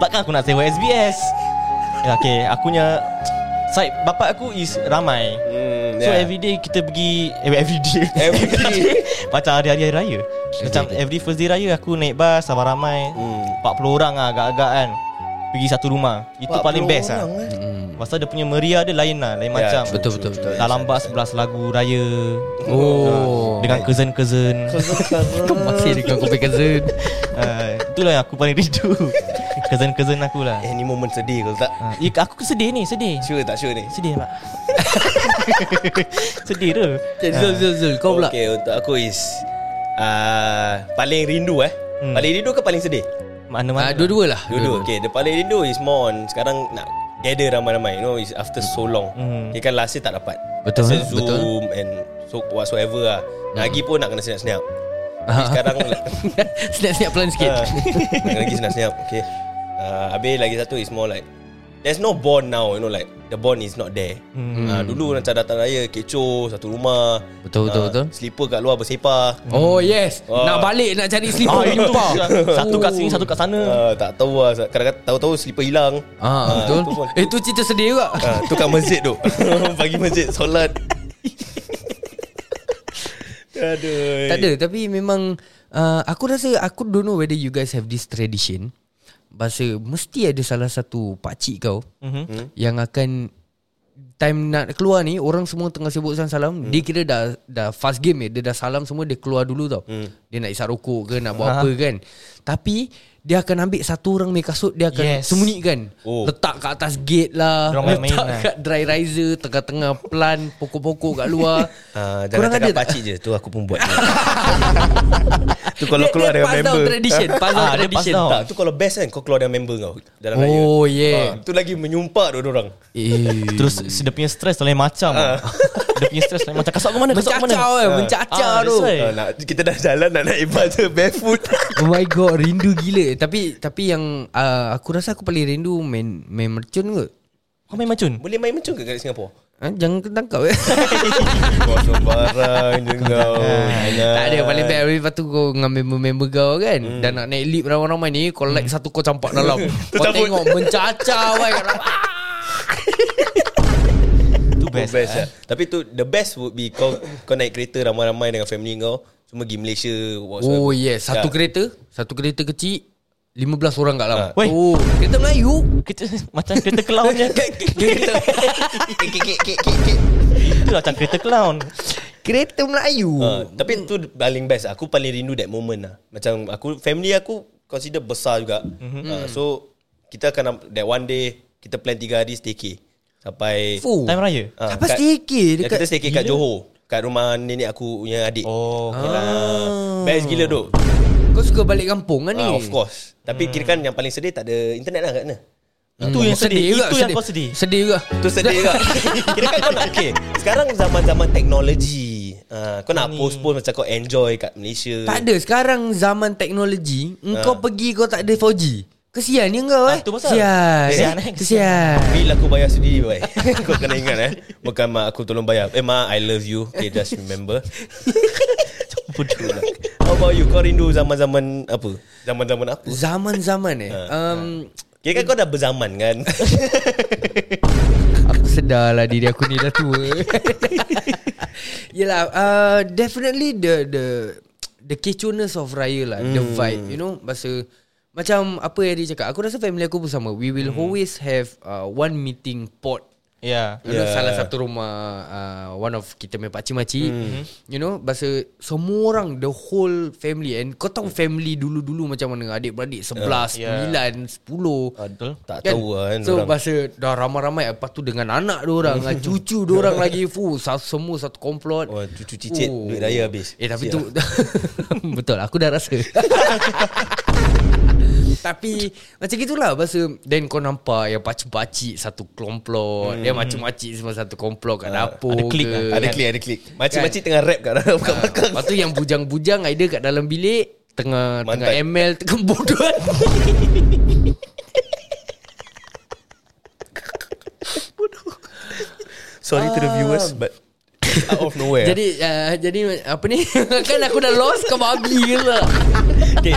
Speaker 2: Takkan aku nak sewa SBS. Ya, okay, akunya Side bapak aku is ramai
Speaker 6: Hmm,
Speaker 2: So
Speaker 6: yeah.
Speaker 2: every day kita pergi eh, Every day
Speaker 6: Every day.
Speaker 2: Macam hari-hari hari raya Macam every first day raya Aku naik bas sama ramai
Speaker 6: Hmm.
Speaker 2: 40 orang lah agak-agak kan Pergi satu rumah Itu paling best lah
Speaker 6: Orang, eh.
Speaker 2: Pasal dia punya meriah dia lain lah Lain
Speaker 6: Ya,
Speaker 2: macam
Speaker 6: true,
Speaker 7: Betul betul betul
Speaker 2: Dalam bas 11 lagu raya
Speaker 7: Oh
Speaker 2: Dengan cousin-cousin
Speaker 7: Kau masih dengan kopi cousin
Speaker 2: uh, Itulah yang aku paling rindu Cousin-cousin aku lah
Speaker 6: Eh, ni momen sedih kau tak?
Speaker 2: uh, Aku sedih ni sedih
Speaker 6: Sure tak sure ni?
Speaker 2: Sedih pak Sedih tu
Speaker 7: Zul Zul Zul Kau pula
Speaker 6: Okay, untuk aku is uh, paling rindu eh.
Speaker 2: Hmm.
Speaker 6: Paling rindu ke paling sedih?
Speaker 7: Ah,
Speaker 2: Mana-mana
Speaker 7: Dua-dua lah
Speaker 6: Dulu Okay The paling rindu is more on Sekarang nak Gather ramai-ramai You know is After so long
Speaker 2: Hmm.
Speaker 6: mm. Kan last year tak dapat
Speaker 7: Betul,
Speaker 6: Pasal
Speaker 7: eh?
Speaker 6: Zoom
Speaker 7: Betul.
Speaker 6: And so whatsoever lah Lagi pun nak kena senyap-senyap Tapi
Speaker 7: Ah.
Speaker 6: sekarang
Speaker 7: Senyap-senyap pelan sikit
Speaker 6: Ah, Nak lagi senyap-senyap Okay uh, Habis lagi satu is more like There's no bond now You know like The bond is not there mm. uh, Dulu macam datang raya Kecoh Satu rumah
Speaker 7: Betul, betul,
Speaker 6: Ah,
Speaker 7: betul.
Speaker 6: Sleeper kat luar bersepah
Speaker 7: Oh yes
Speaker 6: Oh.
Speaker 7: Nak balik nak cari
Speaker 2: Ah,
Speaker 7: sleeper
Speaker 2: itu
Speaker 7: jumpa
Speaker 2: Satu kat sini Satu kat sana
Speaker 6: uh, Tak tahu lah Kadang-kadang tahu-tahu sleeper hilang
Speaker 7: Ah, betul.
Speaker 6: tu pun.
Speaker 7: Eh tu cerita sedih juga.
Speaker 6: Ah, tu kat masjid tu Pagi masjid solat Aduh
Speaker 7: Tak ada Tapi memang uh, Aku rasa Aku don't know whether you guys have this tradition Bahasa Mesti ada salah satu pakcik kau
Speaker 2: Mhm.
Speaker 6: Hmm.
Speaker 7: mm-hmm. Yang akan Time nak keluar ni Orang semua tengah sibuk salam salam
Speaker 6: Hmm.
Speaker 7: Dia kira dah Dah fast game eh. Dia dah salam semua Dia keluar dulu tau
Speaker 6: Hmm.
Speaker 7: Dia nak isap rokok ke Nak buat apa kan Tapi Dia akan ambil satu orang punya kasut Dia akan yes.
Speaker 2: Yes.
Speaker 7: sembunyikan
Speaker 6: Oh.
Speaker 7: oh. Letak kat atas gate lah
Speaker 2: Dia orang main-main
Speaker 7: Letak
Speaker 2: lah.
Speaker 7: kat dry riser Tengah-tengah pelan Pokok-pokok kat luar
Speaker 6: Ah, jangan
Speaker 7: Korang
Speaker 6: cakap
Speaker 7: ada tak?
Speaker 6: pakcik je Tu aku pun buat Tu kalau
Speaker 7: Dia-
Speaker 6: keluar
Speaker 7: dia
Speaker 6: dengan
Speaker 7: pass down
Speaker 6: member
Speaker 7: tradition, pass down
Speaker 6: Ah, dia
Speaker 7: tradition.
Speaker 6: down. Tak, tu kalau best kan Kau keluar dengan member kau Dalam raya
Speaker 7: Oh yeah
Speaker 6: Ah, Tu lagi menyumpak dua orang
Speaker 7: Eh.
Speaker 2: Terus dia punya stress lain macam Dia punya stress lain macam Kasut aku mana Kasut aku mana
Speaker 7: Mencacau eh Mencacau
Speaker 2: Ah,
Speaker 7: tu
Speaker 2: that's right.
Speaker 6: Ah, nak, Kita dah jalan Nak naik bas barefoot
Speaker 7: Oh my god Rindu gila Tapi Tapi yang uh, Aku rasa aku paling rindu Main main mercun ke
Speaker 2: Kau main macun
Speaker 6: Boleh main macam ke kat Singapura?
Speaker 7: ha? Jangan ketangkap eh
Speaker 6: Kau sembarang je kau
Speaker 7: Tak ada paling best Lepas tu kau Dengan member-member kau kan
Speaker 6: Hmm.
Speaker 7: Dan nak naik lip ramai-ramai ni Kau like satu kau campak dalam Kau
Speaker 6: cabut.
Speaker 7: tengok Mencacau eh
Speaker 6: Tu best,
Speaker 7: eh?
Speaker 6: best lah. Tapi tu The best would be Kau kau naik kereta ramai-ramai Dengan family kau Cuma pergi Malaysia whatsoever.
Speaker 7: Oh yes Satu
Speaker 6: Ya.
Speaker 7: kereta Satu kereta kecil 15 orang kat dalam
Speaker 6: Ah.
Speaker 2: Weh.
Speaker 7: Oh Kereta Melayu
Speaker 2: Kita, Macam kereta clown je
Speaker 7: Kereta
Speaker 2: Itu macam kereta clown
Speaker 7: Kereta Melayu
Speaker 6: Ah, tapi tu paling best Aku paling rindu that moment lah Macam aku Family aku Consider besar juga
Speaker 7: Mhm.
Speaker 6: mm-hmm. So Kita akan am- That one day Kita plan tiga hari staycay Sampai
Speaker 7: Fuh.
Speaker 2: Time raya
Speaker 6: ah,
Speaker 7: Apa
Speaker 6: kat-
Speaker 7: staycay
Speaker 6: ya,
Speaker 7: dekat-
Speaker 6: Kita staycay kat Johor Kat rumah nenek aku punya adik
Speaker 2: Oh
Speaker 6: okay lah. Best gila tu
Speaker 7: Kau suka balik kampung kan ni
Speaker 6: ah, Of course Tapi
Speaker 7: Hmm.
Speaker 6: kira kan yang paling sedih Tak ada internet lah kat sana
Speaker 2: Itu yang sedih
Speaker 7: Ah, juga,
Speaker 2: Itu yang kau sedih
Speaker 7: Sedih juga
Speaker 6: Tu sedih juga Kira kan kau nak Okay Sekarang zaman-zaman teknologi ah, Kau nak post-post Macam kau enjoy kat Malaysia
Speaker 7: Tak ada Sekarang zaman teknologi Engkau pergi kau tak ada 4G Kesian je kau
Speaker 2: Ah,
Speaker 7: eh
Speaker 2: tu pasal.
Speaker 7: Kesian
Speaker 2: Kesian, eh?
Speaker 7: Kesian
Speaker 6: Bil aku bayar sendiri baik Kau kena ingat eh Bukan mak aku tolong bayar Eh mak I love you Okay just remember Bodoh lah How about you Kau rindu zaman-zaman apa Zaman-zaman apa
Speaker 7: Zaman-zaman eh
Speaker 2: Ah,
Speaker 7: um,
Speaker 6: Kira kan kau dah berzaman kan
Speaker 7: Aku sedar lah diri aku ni dah tua Yelah uh, Definitely the The the kecohness of raya lah The vibe You know Bahasa Hmm. Macam apa yang dia cakap Aku rasa family aku pun sama We will always have uh, One meeting pot
Speaker 2: Yeah.
Speaker 7: Dulu yeah. salah satu rumah uh, One of kita punya pakcik-makcik mm. You know Bahasa Semua orang The whole family And kau tahu family dulu-dulu Macam mana Adik-beradik 11,
Speaker 2: Yeah.
Speaker 7: yeah. 9, 10
Speaker 2: Ah, Betul.
Speaker 6: Tak tahu lah kan
Speaker 7: So
Speaker 6: orang.
Speaker 7: bahasa Dah ramai-ramai Lepas tu dengan anak diorang Dengan cucu diorang lagi Fuh sa- Semua satu komplot
Speaker 6: Wah, Oh, cucu cicit, duit raya habis.
Speaker 7: Eh tapi
Speaker 6: Sial.
Speaker 7: tu Betul aku dah rasa Tapi Macam gitulah Bahasa Then kau nampak Yang pakcik-pakcik Satu komplot Yang macam-macam Semua satu komplot Kat dapur
Speaker 2: ada klik
Speaker 7: ke.
Speaker 2: lah.
Speaker 6: Hmm. Ah, Ada klik, ada klik. Macam-macam tengah rap kat dalam kat belakang.
Speaker 7: Lepas tu yang bujang-bujang Ada kat dalam bilik
Speaker 6: Mantan.
Speaker 7: Tengah Mantan. Tengah ML Tengah bodohan
Speaker 6: Sorry to the viewers but out of nowhere.
Speaker 7: Jadi uh, Jadi Apa ni Kan aku dah lost Kau babi ke tak
Speaker 6: okay,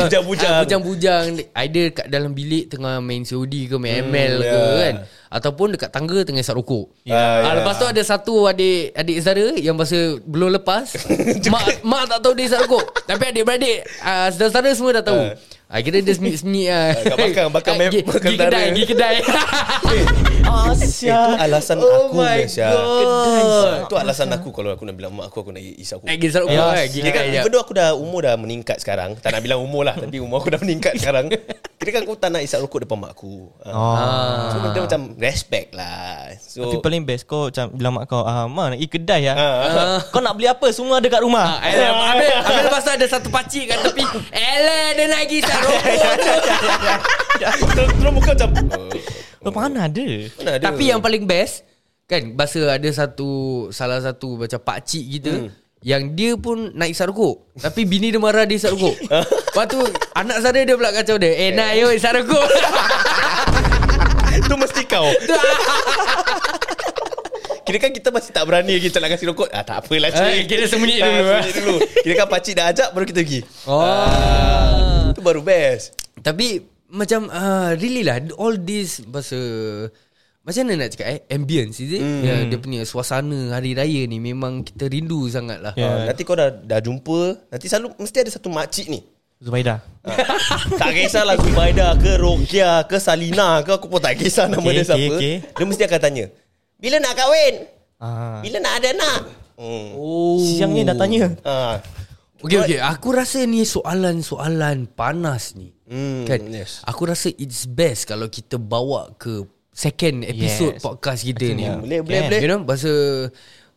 Speaker 7: Ah,
Speaker 6: bujang-bujang.
Speaker 7: Bujang-bujang Ada kat dalam bilik Tengah main COD ke
Speaker 6: Hmm,
Speaker 7: Main ML ke
Speaker 6: yeah.
Speaker 7: kan Ataupun dekat tangga Tengah isap rokok
Speaker 6: Ya, ya.
Speaker 7: Ah, Lepas tu ada satu adik Adik saudara Yang bahasa belum lepas mak, mak tak tahu dia isap rokok Tapi adik-beradik uh, Saudara-saudara semua dah tahu uh. Kira dia sembunyi-sembunyi uh.
Speaker 6: Ah. kat belakang, belakang mem-
Speaker 7: Gi-
Speaker 6: belakang
Speaker 7: gi kedai
Speaker 6: saudara.
Speaker 7: Gi kedai
Speaker 6: Itu Eh, alasan
Speaker 7: Oh
Speaker 6: aku
Speaker 7: my
Speaker 6: Malaysia.
Speaker 7: God.
Speaker 6: Itu alasan aku kalau aku nak bilang mak aku aku nak isap aku.
Speaker 7: Nak pergi sarung bawah kan? Pergi
Speaker 6: Kira kan
Speaker 7: kedai jap.
Speaker 6: Even though aku dah Umur dah meningkat sekarang Tak nak bilang umur lah Tapi umur aku dah meningkat sekarang Kira kan aku tak nak isap rokok Depan mak aku
Speaker 2: Ah.
Speaker 6: oh.
Speaker 7: Ah.
Speaker 6: So kita macam Respect lah So
Speaker 2: Tapi paling best kau macam bilang mak kau, ah, mak nak pergi kedai ya.
Speaker 6: Ah.
Speaker 2: Kau nak beli apa? Semua ada kat rumah.
Speaker 7: Ah, eh, Habis habis lepas tu ada satu pakcik kat tepi Alah dia nak pergi isap rokok
Speaker 6: Terus terus muka macam eh,
Speaker 2: Oh, mana ada?
Speaker 6: mana ada?
Speaker 7: Tapi yang paling best Kan Bahasa ada satu Salah satu Macam pakcik kita hmm. Yang dia pun Nak isap rokok Tapi bini dia marah Dia isap rokok Lepas tu Anak saudara dia pula kacau dia Eh nak yo isap rokok
Speaker 6: Itu mesti kau Kira kan kita masih tak berani lagi Macam nak kasih rokok ah, Tak apalah cik
Speaker 7: Eh, kira sembunyi
Speaker 6: Ah,
Speaker 7: dulu,
Speaker 6: sembunyi dulu. Kira kan pakcik dah ajak Baru kita pergi Ah,
Speaker 7: Oh
Speaker 6: Itu baru best
Speaker 7: Tapi Macam uh, Really lah All this Bahasa Macam mana nak cakap eh Ambience is it mm. ya, Dia punya suasana Hari raya ni Memang kita rindu sangat lah yeah.
Speaker 6: Ah, Nanti kau dah, dah jumpa Nanti selalu Mesti ada satu makcik ni
Speaker 2: Zubaida.
Speaker 6: Tak kisahlah Zubaida ke Rokia ke Salina ke Aku pun tak kisah nama
Speaker 2: Okay,
Speaker 6: dia siapa
Speaker 2: okay, okay.
Speaker 6: Dia mesti akan tanya Bila nak kahwin?
Speaker 2: Ah.
Speaker 6: Bila nak ada anak? Hmm.
Speaker 7: Oh
Speaker 2: Siang ni dah tanya.
Speaker 6: Ah.
Speaker 7: Okay, okay. Aku rasa ni soalan-soalan panas ni.
Speaker 6: Hmm,
Speaker 7: kan?
Speaker 6: yes.
Speaker 7: Aku rasa it's best kalau kita bawa ke second episode yes.
Speaker 2: Yes.
Speaker 7: podcast kita ni.
Speaker 6: Boleh, boleh,
Speaker 7: Kan?
Speaker 6: boleh.
Speaker 7: You know, bahasa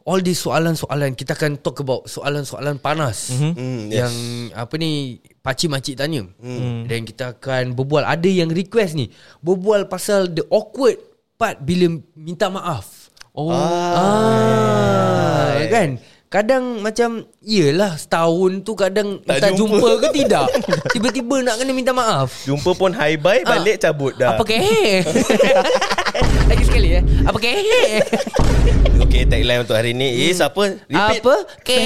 Speaker 7: all these soalan-soalan kita akan talk about soalan-soalan panas
Speaker 6: Mm, yes.
Speaker 7: yang apa ni pakcik-makcik tanya. Mm. Dan kita akan berbual ada yang request ni. Berbual pasal the awkward part bila minta maaf.
Speaker 2: Oh.
Speaker 7: Ah, yeah. kan? Kadang macam Yelah setahun tu kadang
Speaker 6: Tak
Speaker 7: Tak, tak
Speaker 6: jumpa.
Speaker 7: jumpa. jumpa ke tidak Tiba-tiba nak kena minta maaf
Speaker 6: Jumpa pun hi bye Balik cabut dah
Speaker 7: Apa ke Lagi sekali eh Apa ke
Speaker 6: Okay tagline untuk hari ni Is Hmm. apa? Repeat
Speaker 7: Apa ke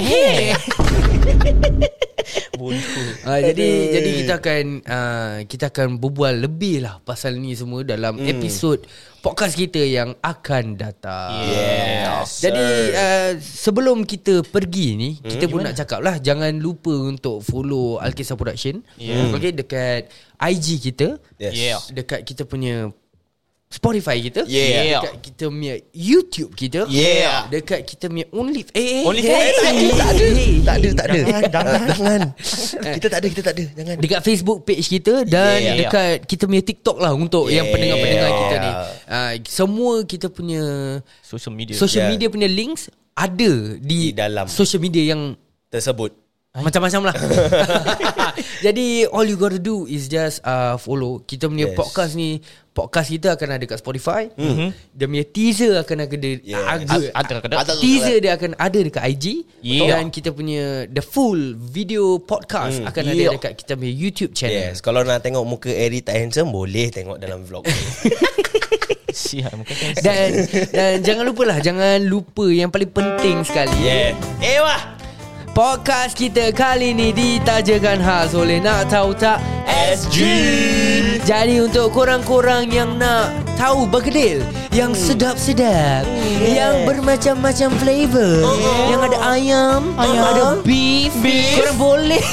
Speaker 7: Uh, jadi jadi kita akan uh, kita akan berbual lebih lah pasal ni semua dalam mm. episod podcast kita yang akan datang.
Speaker 6: Yes,
Speaker 7: Jadi uh, sebelum kita pergi ni hmm? kita pun nak cakap lah jangan lupa untuk follow Alkisah Production. Yeah. Okay dekat IG kita.
Speaker 6: Yes.
Speaker 2: Yeah.
Speaker 7: Dekat kita punya Spotify kita
Speaker 6: Yeah.
Speaker 7: Dekat kita punya YouTube kita
Speaker 6: Yeah.
Speaker 7: Dekat kita punya Only Eh
Speaker 6: Eh, tak ada, tak ada. Tak ada, tak ada. Jangan, jangan. Kita tak ada, kita tak ada. Jangan.
Speaker 7: Eh. Dekat Facebook page kita
Speaker 6: Yeah.
Speaker 7: Dan yeah. dekat Kita punya TikTok lah Untuk yeah. yang pendengar-pendengar kita ni
Speaker 6: Yeah.
Speaker 7: uh, Semua kita punya
Speaker 2: Social media.
Speaker 7: Social
Speaker 6: Yeah.
Speaker 7: media punya links Ada
Speaker 6: Di
Speaker 7: di,
Speaker 6: dalam.
Speaker 7: Social media yang
Speaker 6: Tersebut.
Speaker 7: Macam-macam lah Jadi All you gotta do Is just uh, Follow Kita punya
Speaker 6: Yes.
Speaker 7: yes. podcast ni Podcast kita akan ada kat Spotify mm-hmm. Dia punya teaser akan ada
Speaker 6: Yes.
Speaker 7: agak,
Speaker 2: Ada kat kedai.
Speaker 7: Teaser dia akan ada dekat IG
Speaker 2: Yeah.
Speaker 7: Dan kita punya The full video podcast Akan ada dekat kita punya YouTube channel
Speaker 6: Yes. Kalau nak tengok muka Eri tak handsome, boleh tengok dalam vlog.
Speaker 2: Siap. Mungkin kan.
Speaker 7: Dan dan jangan lupa lah Jangan lupa yang paling penting sekali
Speaker 6: yeah. Eh, wah.
Speaker 7: Podcast kita kali ni ditajakan khas oleh Nak Tahu Tak
Speaker 6: SG
Speaker 1: Jadi untuk korang-korang yang nak tahu bergedil Yang
Speaker 2: Hmm.
Speaker 1: sedap-sedap Yang bermacam-macam flavor Yang ada ayam, Ada beef, beef. Korang boleh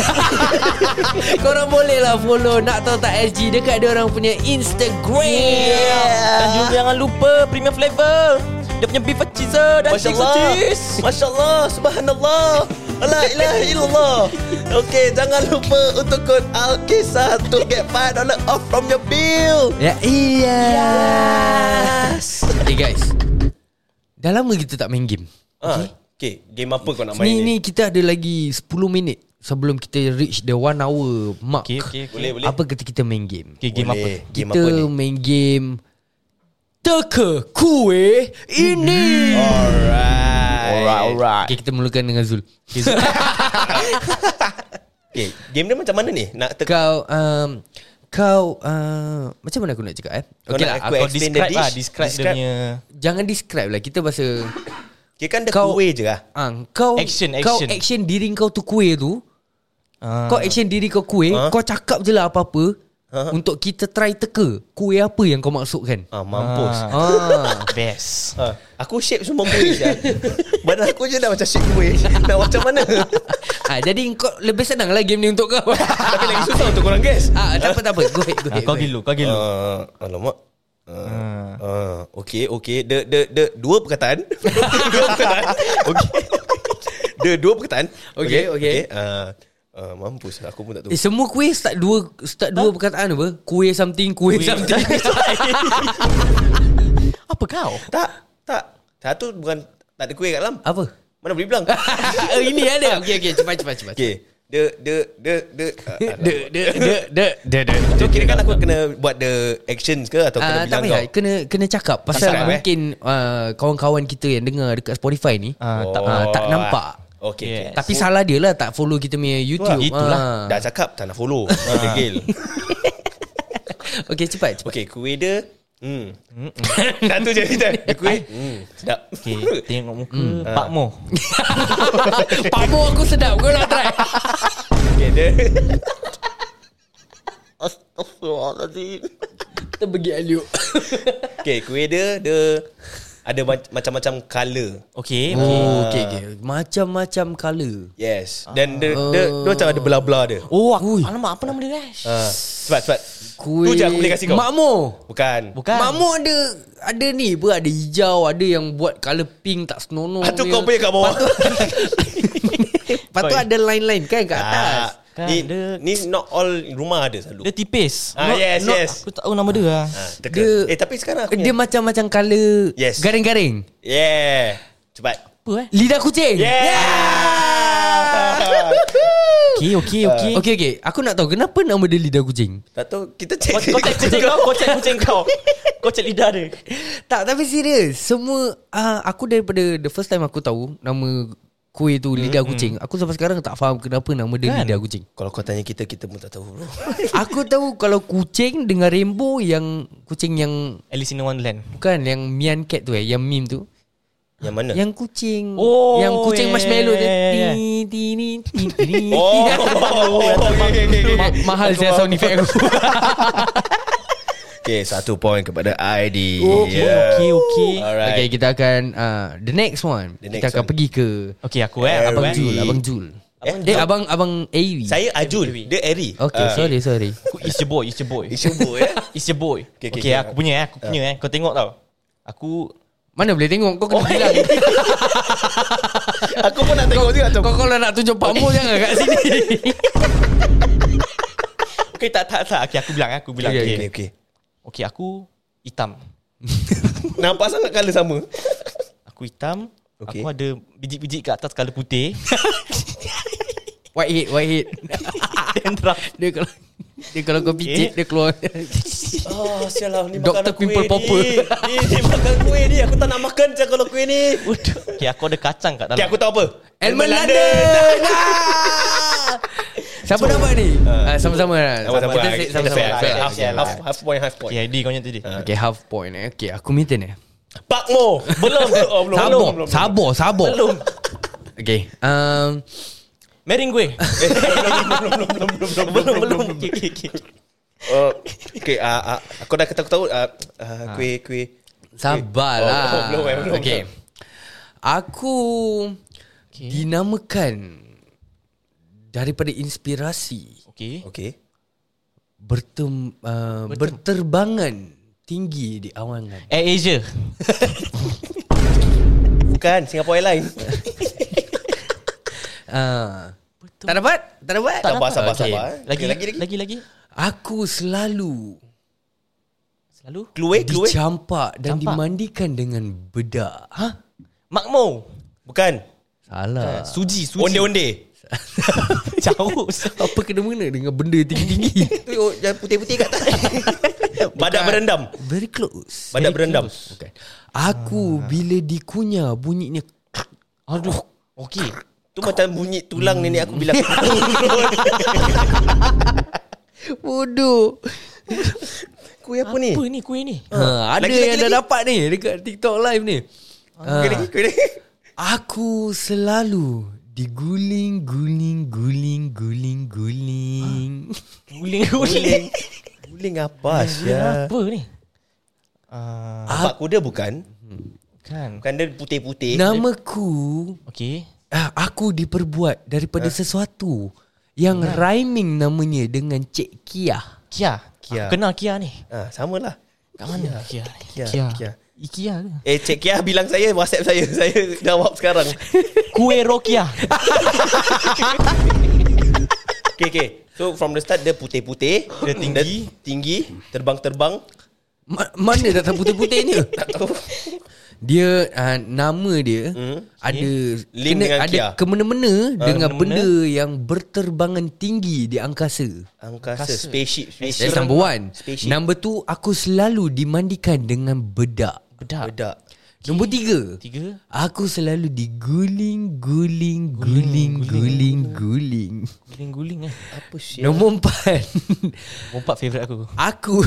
Speaker 1: Korang boleh lah follow Nak tahu tak SG Dekat orang punya Instagram
Speaker 8: Dan juga jangan lupa premium flavor. Dia punya beef cheeser dan
Speaker 9: Masya
Speaker 8: cheese
Speaker 9: Allah
Speaker 8: cheese.
Speaker 9: Masya Allah Subhanallah La ilaha illallah Okay Jangan lupa Untuk kod Al-Kisah To get $5 off from your bill
Speaker 1: Ya iya
Speaker 7: Hey guys Dah lama kita tak main game
Speaker 6: Okay. Ah, okay. Game apa kau nak main
Speaker 7: Ni
Speaker 6: ni?
Speaker 7: ni kita ada lagi 10 minit Sebelum kita reach the 1 hour mark
Speaker 2: Okay, okay, okay.
Speaker 6: Boleh, boleh.
Speaker 7: Apa kata kita main game
Speaker 2: Okay, game apa?
Speaker 6: Boleh. Game
Speaker 7: Kita
Speaker 6: apa ni?
Speaker 7: main game Teka kuih ini
Speaker 6: Hmm. Alright. Alright.
Speaker 7: Okay kita mulakan dengan Zul okay, Zul
Speaker 6: Okay. Game dia macam mana ni? Nak teka
Speaker 7: Kau um, Kau uh, Macam mana aku nak cakap eh
Speaker 6: Kau
Speaker 7: Okay
Speaker 6: nak
Speaker 7: lah
Speaker 6: aku
Speaker 7: aku,
Speaker 2: Kau
Speaker 6: explain the
Speaker 2: describe
Speaker 6: dish.
Speaker 2: lah Describe,
Speaker 6: Describe.
Speaker 2: dia punya
Speaker 7: Jangan describe lah Kita bahasa
Speaker 6: Kira kan dia
Speaker 7: Kau-
Speaker 6: kuih je lah.
Speaker 7: ah, Kau
Speaker 2: Action,
Speaker 7: Kau
Speaker 2: action.
Speaker 7: action diri kau tu kuih tu
Speaker 2: Ah.
Speaker 7: Kau action diri kau kuih
Speaker 6: Ah.
Speaker 7: Kau cakap je lah apa-apa Untuk kita try teka Kuih apa yang kau maksudkan
Speaker 6: Ah, mampus.
Speaker 7: Ah,
Speaker 2: Best
Speaker 6: Ah. Aku shape semua kuih je. Badan aku je dah macam shape kuih. Nak macam mana?
Speaker 7: ah, jadi kau lebih senang lah game ni untuk kau.
Speaker 6: Tapi lagi susah untuk korang guess.
Speaker 7: ah, tak apa tak apa. Go ahead, go
Speaker 2: Ah,
Speaker 7: ahead.
Speaker 2: Kau
Speaker 7: go ahead.
Speaker 2: gilu Kau Ah, gilu
Speaker 6: Uh, alamak. Uh, uh, okay, okay. The, the, the, dua perkataan. dua perkataan. Okay. The dua perkataan.
Speaker 7: Okay, okay.
Speaker 6: Uh, uh, mampus lah. Aku pun tak tahu.
Speaker 7: Eh, semua kuih start dua start dua perkataan apa? Kuih something, kuih, something.
Speaker 2: Apa kau?
Speaker 6: Tak, tak. Satu bukan tak ada kuih kat dalam.
Speaker 7: apa?
Speaker 6: Mana boleh bilang?
Speaker 7: oh, ini ada. Okey okey, cepat cepat Ah, cepat.
Speaker 6: Okay. The, the, the, the. Uh,
Speaker 7: De de de de de. de.
Speaker 6: So kira kan aku kena buat the actions ke atau kena
Speaker 7: Ah,
Speaker 6: bilang
Speaker 7: tak payah
Speaker 6: kau?
Speaker 7: kena kena cakap pasal
Speaker 6: cakap, eh?
Speaker 7: mungkin ah, kawan-kawan kita yang dengar dekat Spotify ni
Speaker 2: Ah,
Speaker 7: ah,
Speaker 2: tak-
Speaker 7: tak
Speaker 6: Oh.
Speaker 7: nampak.
Speaker 6: Okay, okay.
Speaker 2: Yes.
Speaker 7: Tapi salah dia lah tak follow kita punya YouTube.
Speaker 6: Itulah.
Speaker 7: Ah.
Speaker 6: Dah cakap tak nak follow. Ha, degil.
Speaker 7: Okey cepat cepat.
Speaker 6: Okay, kuih dia. Hmm. Satu je kita. Dia kuih. Hmm. Sedap.
Speaker 2: Okay Tengok muka Pak Mo
Speaker 7: Pak Mo aku sedap. Kau nak try?
Speaker 6: Okay, dia.
Speaker 9: Astagfirullahaladzim
Speaker 7: Kita pergi Aliuk.
Speaker 6: Okay, kuih dia, dia ada mac- macam-macam colour.
Speaker 2: Okay
Speaker 7: Oh, okay, okay. Macam-macam colour.
Speaker 6: Yes. Dan dia, dia, dia macam ada belah-belah dia.
Speaker 7: Oh, aku.
Speaker 8: Alamak, apa nama dia guys?
Speaker 6: Uh, cepat, cepat.
Speaker 7: Kuih.
Speaker 6: Tu je aku boleh kasih kau.
Speaker 7: eh, Makmur. kan?
Speaker 6: Bukan.
Speaker 2: Bukan
Speaker 7: Makmur ada ada ni apa ada hijau, ada yang buat colour pink tak senonoh.
Speaker 6: Ah, tu kau punya kat bawah.
Speaker 7: Lepas tu ada line-line kan kat atas.
Speaker 6: Ah,
Speaker 2: Kan,
Speaker 6: ni,
Speaker 2: dia-
Speaker 6: ni not all rumah ada selalu.
Speaker 2: Dia tipis
Speaker 6: Ah, yes, yes.
Speaker 2: Aku tak tahu nama dia lah
Speaker 6: Ah, teka.
Speaker 7: Dia-
Speaker 6: eh tapi sekarang aku
Speaker 7: Dia macam-macam colour
Speaker 6: Yes.
Speaker 7: garing-garing.
Speaker 6: Yeah. Cepat.
Speaker 2: Apa eh
Speaker 7: Lidah kucing.
Speaker 6: Yeah.
Speaker 2: Okay okay okay
Speaker 7: Okey okey, aku nak tahu kenapa nama dia lidah kucing.
Speaker 6: tak tahu kita
Speaker 8: Kau
Speaker 6: cek.
Speaker 8: kau cek kucing kau, kau cek kucing kau. Kau cek lidah dia.
Speaker 7: Tak, tapi serius. Semua uh, aku daripada the first time aku tahu nama kuih tu lidah kucing. Aku sampai sekarang tak faham kenapa nama dia
Speaker 2: Kan?
Speaker 7: lidah kucing.
Speaker 6: Kalau kau tanya kita kita pun tak tahu bro.
Speaker 7: Aku tahu kalau kucing dengan rainbow yang kucing yang
Speaker 2: Alice in Wonderland
Speaker 7: bukan yang Mian cat tu eh, yang meme tu.
Speaker 6: Yang mana?
Speaker 7: Yang kucing
Speaker 2: Oh,
Speaker 7: Yang
Speaker 6: ya,
Speaker 7: kucing
Speaker 2: yeah,
Speaker 7: marshmallow
Speaker 2: yeah, yeah, yeah.
Speaker 7: tu Ti, ti, ni, ti, ti, ni.
Speaker 6: Oh, okay, okay, okay, okay.
Speaker 7: Ma- Mahal saya sound effect aku
Speaker 6: okay, satu point kepada ID.
Speaker 2: Okay okay okay
Speaker 6: Alright.
Speaker 7: Okay kita akan uh, The next one
Speaker 6: The
Speaker 7: Kita
Speaker 6: next
Speaker 7: akan
Speaker 6: one.
Speaker 7: pergi ke
Speaker 2: Okay aku eh
Speaker 6: Very-
Speaker 2: Abang
Speaker 7: Abang
Speaker 2: Ju
Speaker 7: Jul Abang Jul
Speaker 6: Eh,
Speaker 7: Eh abang Abang Awi
Speaker 6: Saya Ajul, dia Eri.
Speaker 7: Okay
Speaker 6: Ah.
Speaker 7: sorry sorry
Speaker 2: It's your boy It's your boy
Speaker 6: It's your boy, eh?
Speaker 2: It's your boy
Speaker 6: Okay, okay, okay.
Speaker 2: Okay, okay,
Speaker 6: Ah.
Speaker 2: aku punya eh Aku punya eh Kau tengok tau Aku
Speaker 7: Mana boleh tengok
Speaker 6: Oh,
Speaker 7: Kau kena bilang
Speaker 6: ya. Aku pun nak tengok juga
Speaker 7: Kau kalau nak tunjuk Pak Mul Jangan kat sini
Speaker 2: Okay tak tak tak Okay aku bilang eh, Aku bilang
Speaker 7: Okay,
Speaker 2: Okay
Speaker 6: Okay,
Speaker 2: Okay,
Speaker 6: okay.
Speaker 2: aku Hitam
Speaker 6: Nampak sangat colour sama.
Speaker 2: Aku hitam
Speaker 6: Okay.
Speaker 2: Aku ada Biji-biji kat atas Kala putih
Speaker 7: White head White head
Speaker 2: Dan terang
Speaker 7: Dia kalau dia kalau kau picit Dia keluar
Speaker 6: Oh, sial lah. Ni
Speaker 7: Dr. Pimple Popper.
Speaker 6: Ni, ni makan kuih ni. Aku tak nak makan sial kalau kuih ni.
Speaker 2: Okay aku ada kacang kat dalam
Speaker 6: Okay, aku tahu apa.
Speaker 7: Elman London Siapa dapat ni?
Speaker 6: Ha.
Speaker 7: Ah, Sama-sama lah
Speaker 6: Sama-sama.
Speaker 7: Kita
Speaker 6: Kita
Speaker 7: set sama-sama
Speaker 6: fair, lah. fair. Half-
Speaker 7: Okay,
Speaker 6: half- Half point, half point. Ah.
Speaker 2: Okay ID kau punya tadi
Speaker 7: Okay half point eh Okay aku minta ni
Speaker 6: Pak Mo. Belum. Oh, belum.
Speaker 7: Sabar
Speaker 6: belum, belum.
Speaker 7: Sabar Sabar
Speaker 2: Belum
Speaker 7: Okay um,
Speaker 2: Mering gue
Speaker 6: Belum, belum, belum, belum, belum, belum, belum, belum, belum.
Speaker 2: Okay, okay, okay.
Speaker 6: Oh, okay, uh, uh, aku dah ketawa-ketawa uh, uh, kuih kuih.
Speaker 7: Sabarlah.
Speaker 6: Oh, belum, eh, belum,
Speaker 7: lah. okay.
Speaker 6: belum.
Speaker 7: Aku okay. dinamakan daripada inspirasi
Speaker 2: Okay.
Speaker 6: Okay.
Speaker 7: bertem, uh, berterbangan tinggi di awangan.
Speaker 2: Air Asia.
Speaker 6: Bukan Singapore Airlines.
Speaker 7: Uh, tak dapat? Tak dapat?
Speaker 6: Tak Sabar, sabar,
Speaker 7: Okay.
Speaker 6: sabar. eh.
Speaker 2: Lagi
Speaker 6: Okay,
Speaker 2: lagi lagi lagi. lagi.
Speaker 7: Aku selalu
Speaker 2: Selalu
Speaker 6: Kluwe, kluwe.
Speaker 7: dicampak dan
Speaker 2: Campak.
Speaker 7: dimandikan dengan bedak. Ha? Ah.
Speaker 2: Makmo.
Speaker 6: Bukan.
Speaker 7: Salah.
Speaker 2: Suji,
Speaker 6: Oh,
Speaker 2: suji.
Speaker 6: Onde-onde.
Speaker 2: Jauh.
Speaker 7: Apa kena mengena dengan benda tinggi-tinggi?
Speaker 10: Tu oh, jangan putih-putih kat atas.
Speaker 6: Badak berendam.
Speaker 7: Very close.
Speaker 6: Badak berendam.
Speaker 7: Bukan. Aku bila dikunyah bunyinya Aduh.
Speaker 2: Okey.
Speaker 6: Tu macam bunyi tulang nenek aku bila aku
Speaker 7: Bodoh.
Speaker 6: kuih apa ni?
Speaker 2: Apa ni kuih ni?
Speaker 7: Ha, ada
Speaker 6: Lagi,
Speaker 7: lagi,
Speaker 6: lagi,
Speaker 7: yang lagi, dah
Speaker 6: lagi.
Speaker 7: dapat ni dekat TikTok live ni.
Speaker 6: Kuih lagi,
Speaker 7: Ha,
Speaker 6: Ah. kuih lagi.
Speaker 7: aku selalu diguling guling guling guling guling.
Speaker 2: Guling-guling.
Speaker 6: Guling. Guling apa Syah?
Speaker 2: Apa ni? Ah,
Speaker 6: Bapak kuda bukan?
Speaker 2: kan.
Speaker 6: Bukan dia putih-putih.
Speaker 7: Namaku
Speaker 2: Okey.
Speaker 7: ah, aku diperbuat daripada sesuatu yang rhyming namanya dengan Cik Kia.
Speaker 2: Kia. Kia. Aku kenal Kia ni.
Speaker 6: Ah, sama lah.
Speaker 2: Kat mana Kia? ni?
Speaker 6: Kia, Kia.
Speaker 2: Ikea ke?
Speaker 6: Eh, Cik Kia bilang saya WhatsApp saya. Saya jawab sekarang.
Speaker 2: Kuih Rokia.
Speaker 6: Okay, okay. So from the start dia putih-putih, dia tinggi, tinggi, terbang-terbang.
Speaker 7: Ma- mana datang putih-putihnya? tak tahu. Dia uh, nama dia hmm. ada
Speaker 6: Link
Speaker 7: kena,
Speaker 6: dengan
Speaker 7: ada
Speaker 6: Kia.
Speaker 7: kemena-mena dengan
Speaker 2: kemena-mena.
Speaker 7: benda yang berterbangan tinggi di angkasa.
Speaker 6: Angkasa, spaceship, spaceship.
Speaker 7: That's number one.
Speaker 6: Spaceship.
Speaker 7: Number two, aku selalu dimandikan dengan bedak.
Speaker 2: Bedak.
Speaker 6: Bedak.
Speaker 7: Nombor tiga.
Speaker 2: Tiga.
Speaker 7: Aku selalu diguling, guling, guling, guling, guling.
Speaker 2: Guling-guling eh.
Speaker 7: Nombor empat.
Speaker 2: Bompak favourite aku.
Speaker 7: Aku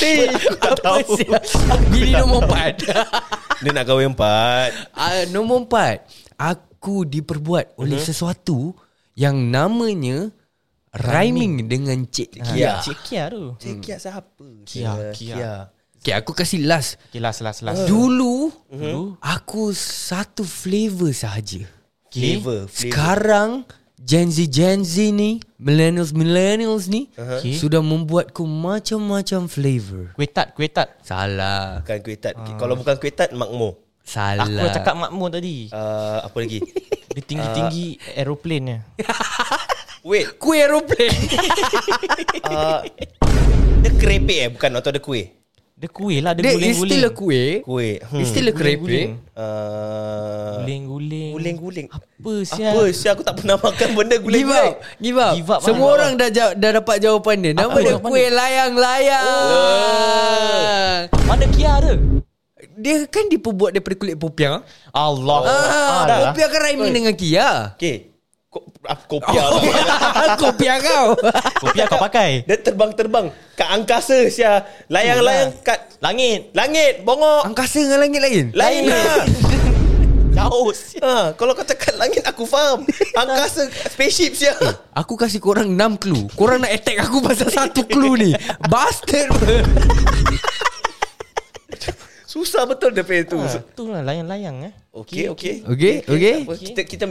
Speaker 6: Si, tak
Speaker 7: Apa
Speaker 6: tahu.
Speaker 7: sial? Bini nombor empat
Speaker 6: Dia nak kahwin empat.
Speaker 7: uh, Nombor empat Aku diperbuat oleh sesuatu Yang namanya Rhyming dengan Cik
Speaker 2: Ha.
Speaker 7: Kia
Speaker 2: Cik Kia tu.
Speaker 6: Cik Kia siapa?
Speaker 2: Kia, Kia.
Speaker 7: Okay aku kasih last
Speaker 2: Okay, last, last, last.
Speaker 7: Dulu
Speaker 2: Ha. Mhm. Dulu.
Speaker 7: Aku satu flavor sahaja
Speaker 2: Okay.
Speaker 6: Flavor, flavor.
Speaker 7: Sekarang Gen Z Gen Z ni Millennials Millennials ni
Speaker 2: Okay.
Speaker 7: Sudah membuatku macam-macam flavor
Speaker 2: Kuih tat, kuih tat.
Speaker 7: Salah
Speaker 6: Bukan kuih tat. Kalau bukan kuih tat, makmur.
Speaker 7: Salah
Speaker 2: Aku dah cakap makmur tadi.
Speaker 6: Uh, apa lagi?
Speaker 2: Dia tinggi-tinggi aeroplane ni.
Speaker 6: Wait,
Speaker 7: Kuih aeroplane
Speaker 6: uh, dia kerepek eh? Bukan, atau ada kuih?
Speaker 2: Dia kuih lah, dia
Speaker 7: Dia is
Speaker 2: guling-guling.
Speaker 7: still a kuih
Speaker 6: Kuih.
Speaker 7: It's
Speaker 6: Hmm.
Speaker 7: still a crepe
Speaker 2: Guling-guling.
Speaker 6: Uh,
Speaker 2: Guling-guling.
Speaker 6: Guling-guling.
Speaker 2: Apa sial?
Speaker 6: Apa? Syah, aku tak pernah makan benda
Speaker 7: Give up
Speaker 6: guling-guling.
Speaker 7: Give up,
Speaker 2: Give up,
Speaker 7: Semua
Speaker 2: mana?
Speaker 7: orang dah, jawab, dah dapat jawapan dia Nama
Speaker 2: Apa
Speaker 7: dia
Speaker 2: jawapan
Speaker 7: kuih
Speaker 2: dia?
Speaker 7: layang-layang
Speaker 2: Mana Kia tu?
Speaker 7: Dia kan diperbuat daripada kulit popiah
Speaker 2: Allah.
Speaker 7: ah,
Speaker 2: Oh. dah. lah.
Speaker 7: Popiah kan rhyming dengan kia
Speaker 6: Okay. Ko- ah, Kopiah lah.
Speaker 7: Kopiah kau
Speaker 2: Kopi kau pakai.
Speaker 6: Dia terbang-terbang Kat angkasa Syah Layang-layang kat
Speaker 2: Langit.
Speaker 6: langit Bongok
Speaker 7: Angkasa dengan langit lain
Speaker 6: Lain lah
Speaker 2: Jauh.
Speaker 6: ha, Kalau kau cakap langit Aku faham Angkasa Eh, Spaceship Syah
Speaker 7: Aku kasih korang 6 clue Korang nak attack aku pasal satu clue ni Bastard
Speaker 6: Susah betul dia punya tu
Speaker 2: Ah, Tu lah layang-layang eh.
Speaker 6: Okay okay
Speaker 7: Okay, okay.
Speaker 6: tak apa. Kita, kita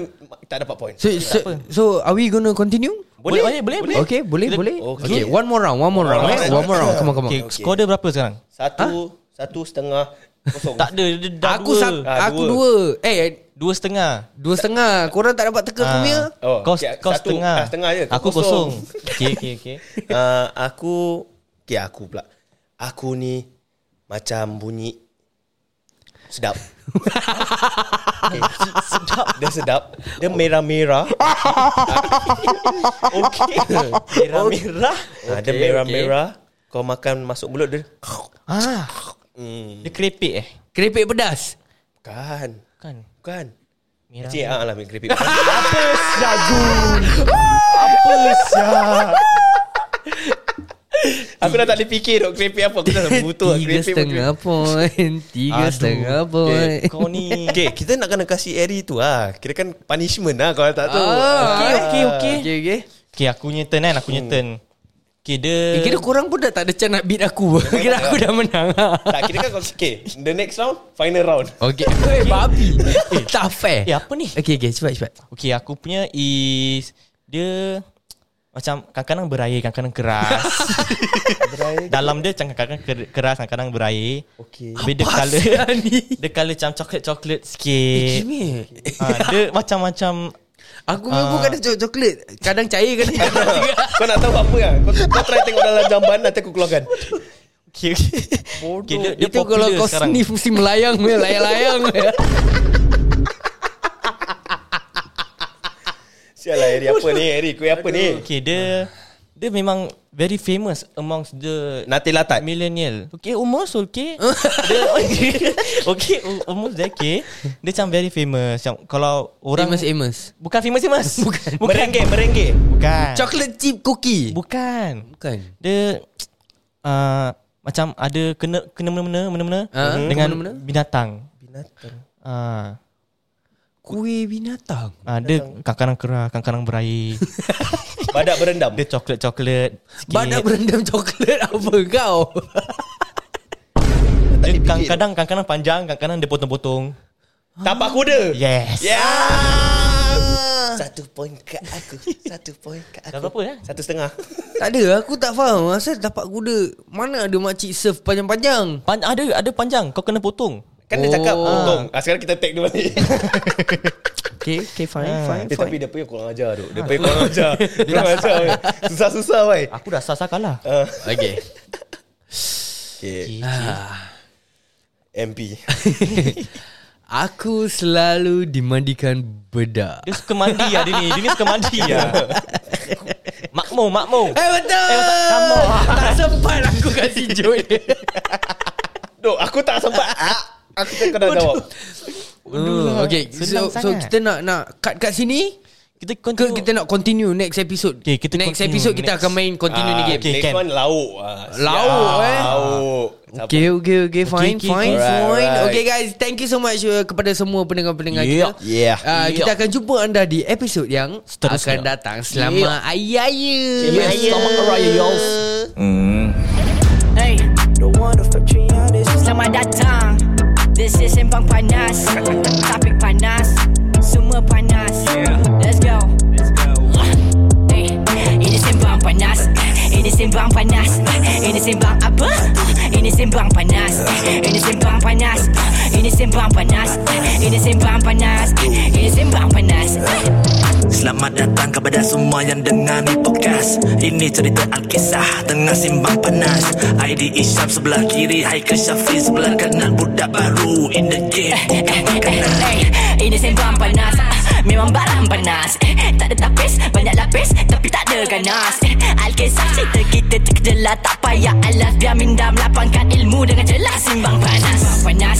Speaker 6: tak dapat point
Speaker 7: So, so, so are we gonna continue?
Speaker 2: Boleh, boleh, boleh, boleh.
Speaker 7: Okay, boleh, boleh.
Speaker 6: Okay.
Speaker 7: Okay, one more round, one more round. eh. One more round, come on, come on.
Speaker 2: Okay, skor dia berapa sekarang?
Speaker 7: ha?
Speaker 6: Satu Satu setengah Kosong
Speaker 2: Tak ada, dia dah
Speaker 7: Aku
Speaker 2: dua.
Speaker 7: satu,
Speaker 6: Ah,
Speaker 7: aku
Speaker 6: dua.
Speaker 7: dua. Eh,
Speaker 2: Dua setengah.
Speaker 7: Dua setengah Korang tak dapat
Speaker 2: Ah.
Speaker 7: teka aku punya
Speaker 6: Oh,
Speaker 2: kau
Speaker 6: okay,
Speaker 2: kau
Speaker 6: satu.
Speaker 2: setengah.
Speaker 6: Ah, setengah je. Kau
Speaker 2: Aku
Speaker 6: kosong.
Speaker 2: kosong. okay, okay, okay.
Speaker 6: uh, Aku Okay aku pula Aku ni Macam bunyi Sedap okay. Sedap Dia sedap Dia
Speaker 2: Oh.
Speaker 6: merah-merah
Speaker 2: Ah.
Speaker 6: Okay Merah-merah okay, Ah, Dia merah-merah Kau makan masuk mulut dia
Speaker 2: Ah,
Speaker 6: hmm.
Speaker 2: dia kerepek eh.
Speaker 7: Keripik pedas
Speaker 6: Bukan
Speaker 2: Kan.
Speaker 6: Bukan
Speaker 2: Merah.
Speaker 6: Cik ah, lah keripik
Speaker 2: Apa sial?
Speaker 6: Aku dah tak boleh fikir dok keripik apa Aku dah butuh
Speaker 7: Tiga setengah point
Speaker 2: lah,
Speaker 7: Tiga
Speaker 2: Aduh.
Speaker 7: setengah point
Speaker 2: Kau ni.
Speaker 6: Okay kita nak kena kasih Eri tu ah. Kira kan punishment lah Kalau tak tu
Speaker 7: Ah,
Speaker 2: Okay, okay, okay.
Speaker 7: Okay okay
Speaker 2: Okay, aku punya turn kan, aku punya turn. Okay dia
Speaker 7: Eh, kira korang pun dah tak ada chance nak beat aku Kira aku dah menang
Speaker 6: Tak kira kan kau Okay The next round Final round
Speaker 7: Okay Eh babi eh, Tak fair
Speaker 2: Eh apa ni
Speaker 7: Okay okay cepat cepat
Speaker 2: Okay aku punya is Dia Macam kadang-kadang berair Kadang-kadang keras Dalam dia macam kadang-kadang ker- keras Kadang-kadang berair Okay Habis dia colour Dia colour macam coklat-coklat
Speaker 7: Eh,
Speaker 2: sikit
Speaker 7: Kimi
Speaker 2: ha, Dia macam-macam
Speaker 7: eh. Aku
Speaker 2: Ah.
Speaker 7: uh. pun kadang cok- coklat Kadang cair kadang
Speaker 6: Kau nak tahu apa kan kau, kau try tengok dalam jamban Nanti aku keluarkan
Speaker 2: Okay, okay. okay dia, dia
Speaker 7: Itu kalau
Speaker 2: popular
Speaker 7: kau
Speaker 2: sekarang.
Speaker 7: sniff Mesti melayang weh, Layang-layang weh.
Speaker 6: Sial lah Harry Apa ni Harry Kuih apa ni
Speaker 2: Okay dia Dia memang Very famous Amongst the
Speaker 6: Nati latat
Speaker 2: millennial. Okay, almost okay. dia, okay, al- almost there, okay. Dia macam very famous. Macam kalau orang
Speaker 7: Famous Amos
Speaker 2: bukan famous famous. Bukan. bukan. Merengge, merengge. Bukan.
Speaker 7: Chocolate chip cookie
Speaker 2: Bukan.
Speaker 7: Bukan
Speaker 2: Dia uh, macam ada kena kena mena-mena mena-mena
Speaker 7: Ah,
Speaker 2: dengan
Speaker 7: kena-mena.
Speaker 2: binatang. Binatang. Ah.
Speaker 7: Kuih binatang
Speaker 2: Uh, dia kadang-kadang kerah, kadang-kadang berair.
Speaker 6: Badak berendam
Speaker 2: dia coklat-coklat. sikit.
Speaker 7: Badak berendam coklat Apa kau
Speaker 2: Dia kadang-kadang kadang-kadang panjang, kadang-kadang dia potong-potong.
Speaker 6: Tapak kuda
Speaker 7: Ya.
Speaker 6: Ya.
Speaker 2: Yes. Yeah.
Speaker 11: Satu poin kat aku Satu poin kat
Speaker 2: Dah
Speaker 11: aku
Speaker 2: berapa ya?
Speaker 6: Satu setengah
Speaker 7: Tak ada aku tak faham Asal dapat kuda Mana ada makcik serve panjang-panjang
Speaker 2: Pan- ada ada panjang, kau kena potong.
Speaker 6: Kan dia cakap
Speaker 7: Oh.
Speaker 6: Untung ah, Sekarang kita take dia balik
Speaker 7: Okay, okay fine, fine,
Speaker 6: eh, Tapi dia punya kurang ajar tu Dia punya kurang ajar Kurang ajar weh. Susah-susah weh
Speaker 2: Aku dah sasa kalah.
Speaker 6: Ah,
Speaker 7: Okay
Speaker 6: Okay MP
Speaker 7: Aku selalu dimandikan bedak
Speaker 2: Dia suka mandi lah dia ni. Dia ni suka mandi lah. Makmur, makmur.
Speaker 7: Ya. Eh betul
Speaker 2: Eh, betul. Kamu.
Speaker 7: Tak sempat aku kasih joy dia
Speaker 6: Dok aku tak sempat Ah, Aku tak kena jawab
Speaker 7: Oh, okay so,
Speaker 2: senang
Speaker 7: so
Speaker 2: sangat.
Speaker 7: kita nak nak cut kat sini
Speaker 2: Kita
Speaker 7: ke
Speaker 2: continue.
Speaker 7: kita nak continue next episode
Speaker 2: Okay, kita
Speaker 7: next
Speaker 2: continue,
Speaker 7: episode kita
Speaker 2: next. kan.
Speaker 7: akan main continue ni
Speaker 6: Ah,
Speaker 7: game
Speaker 6: Next
Speaker 2: can.
Speaker 6: one lauk ah,
Speaker 7: Lauk,
Speaker 6: siap.
Speaker 7: eh.
Speaker 6: Lauk Sabar.
Speaker 7: Okay, okay, okay, fine,
Speaker 2: okay,
Speaker 6: okay.
Speaker 7: fine, fine.
Speaker 6: Alright, alright.
Speaker 7: Okay guys, thank you so much uh, kepada semua pendengar-pendengar
Speaker 2: Yeah,
Speaker 7: kita.
Speaker 6: yeah.
Speaker 7: Uh, kita akan jumpa anda di episod yang
Speaker 2: Seterusnya.
Speaker 7: akan datang. Selamat yeah. Hari Raya.
Speaker 6: Yes, selamat raya y'all
Speaker 4: Hey, Selamat datang This is Sembang Panas Topik panas Semua panas Let's go Hey, Ini Sembang Panas Ini Sembang Panas Ini Sembang apa? Ini Sembang Panas Ini Sembang Panas Ini Sembang Panas Ini Sembang Panas Ini Sembang Panas
Speaker 5: Selamat datang kepada semua yang dengar ni podcast Ini cerita Alkisah Tengah simbang panas ID Isyam sebelah kiri Haikal Syafiq sebelah kanan Budak baru in the game
Speaker 3: Eh,
Speaker 4: Eh,
Speaker 5: Bukan makanan
Speaker 4: Hey, eh, ini sembang panas Ah, Memang barang panas Eh, Tak ada tapis, banyak lapis Tapi tak ada ganas Eh, Alkisah cerita kita terkejelah Tak payah alas Biar minda melapangkan ilmu dengan jelas Simbang panas Sembang panas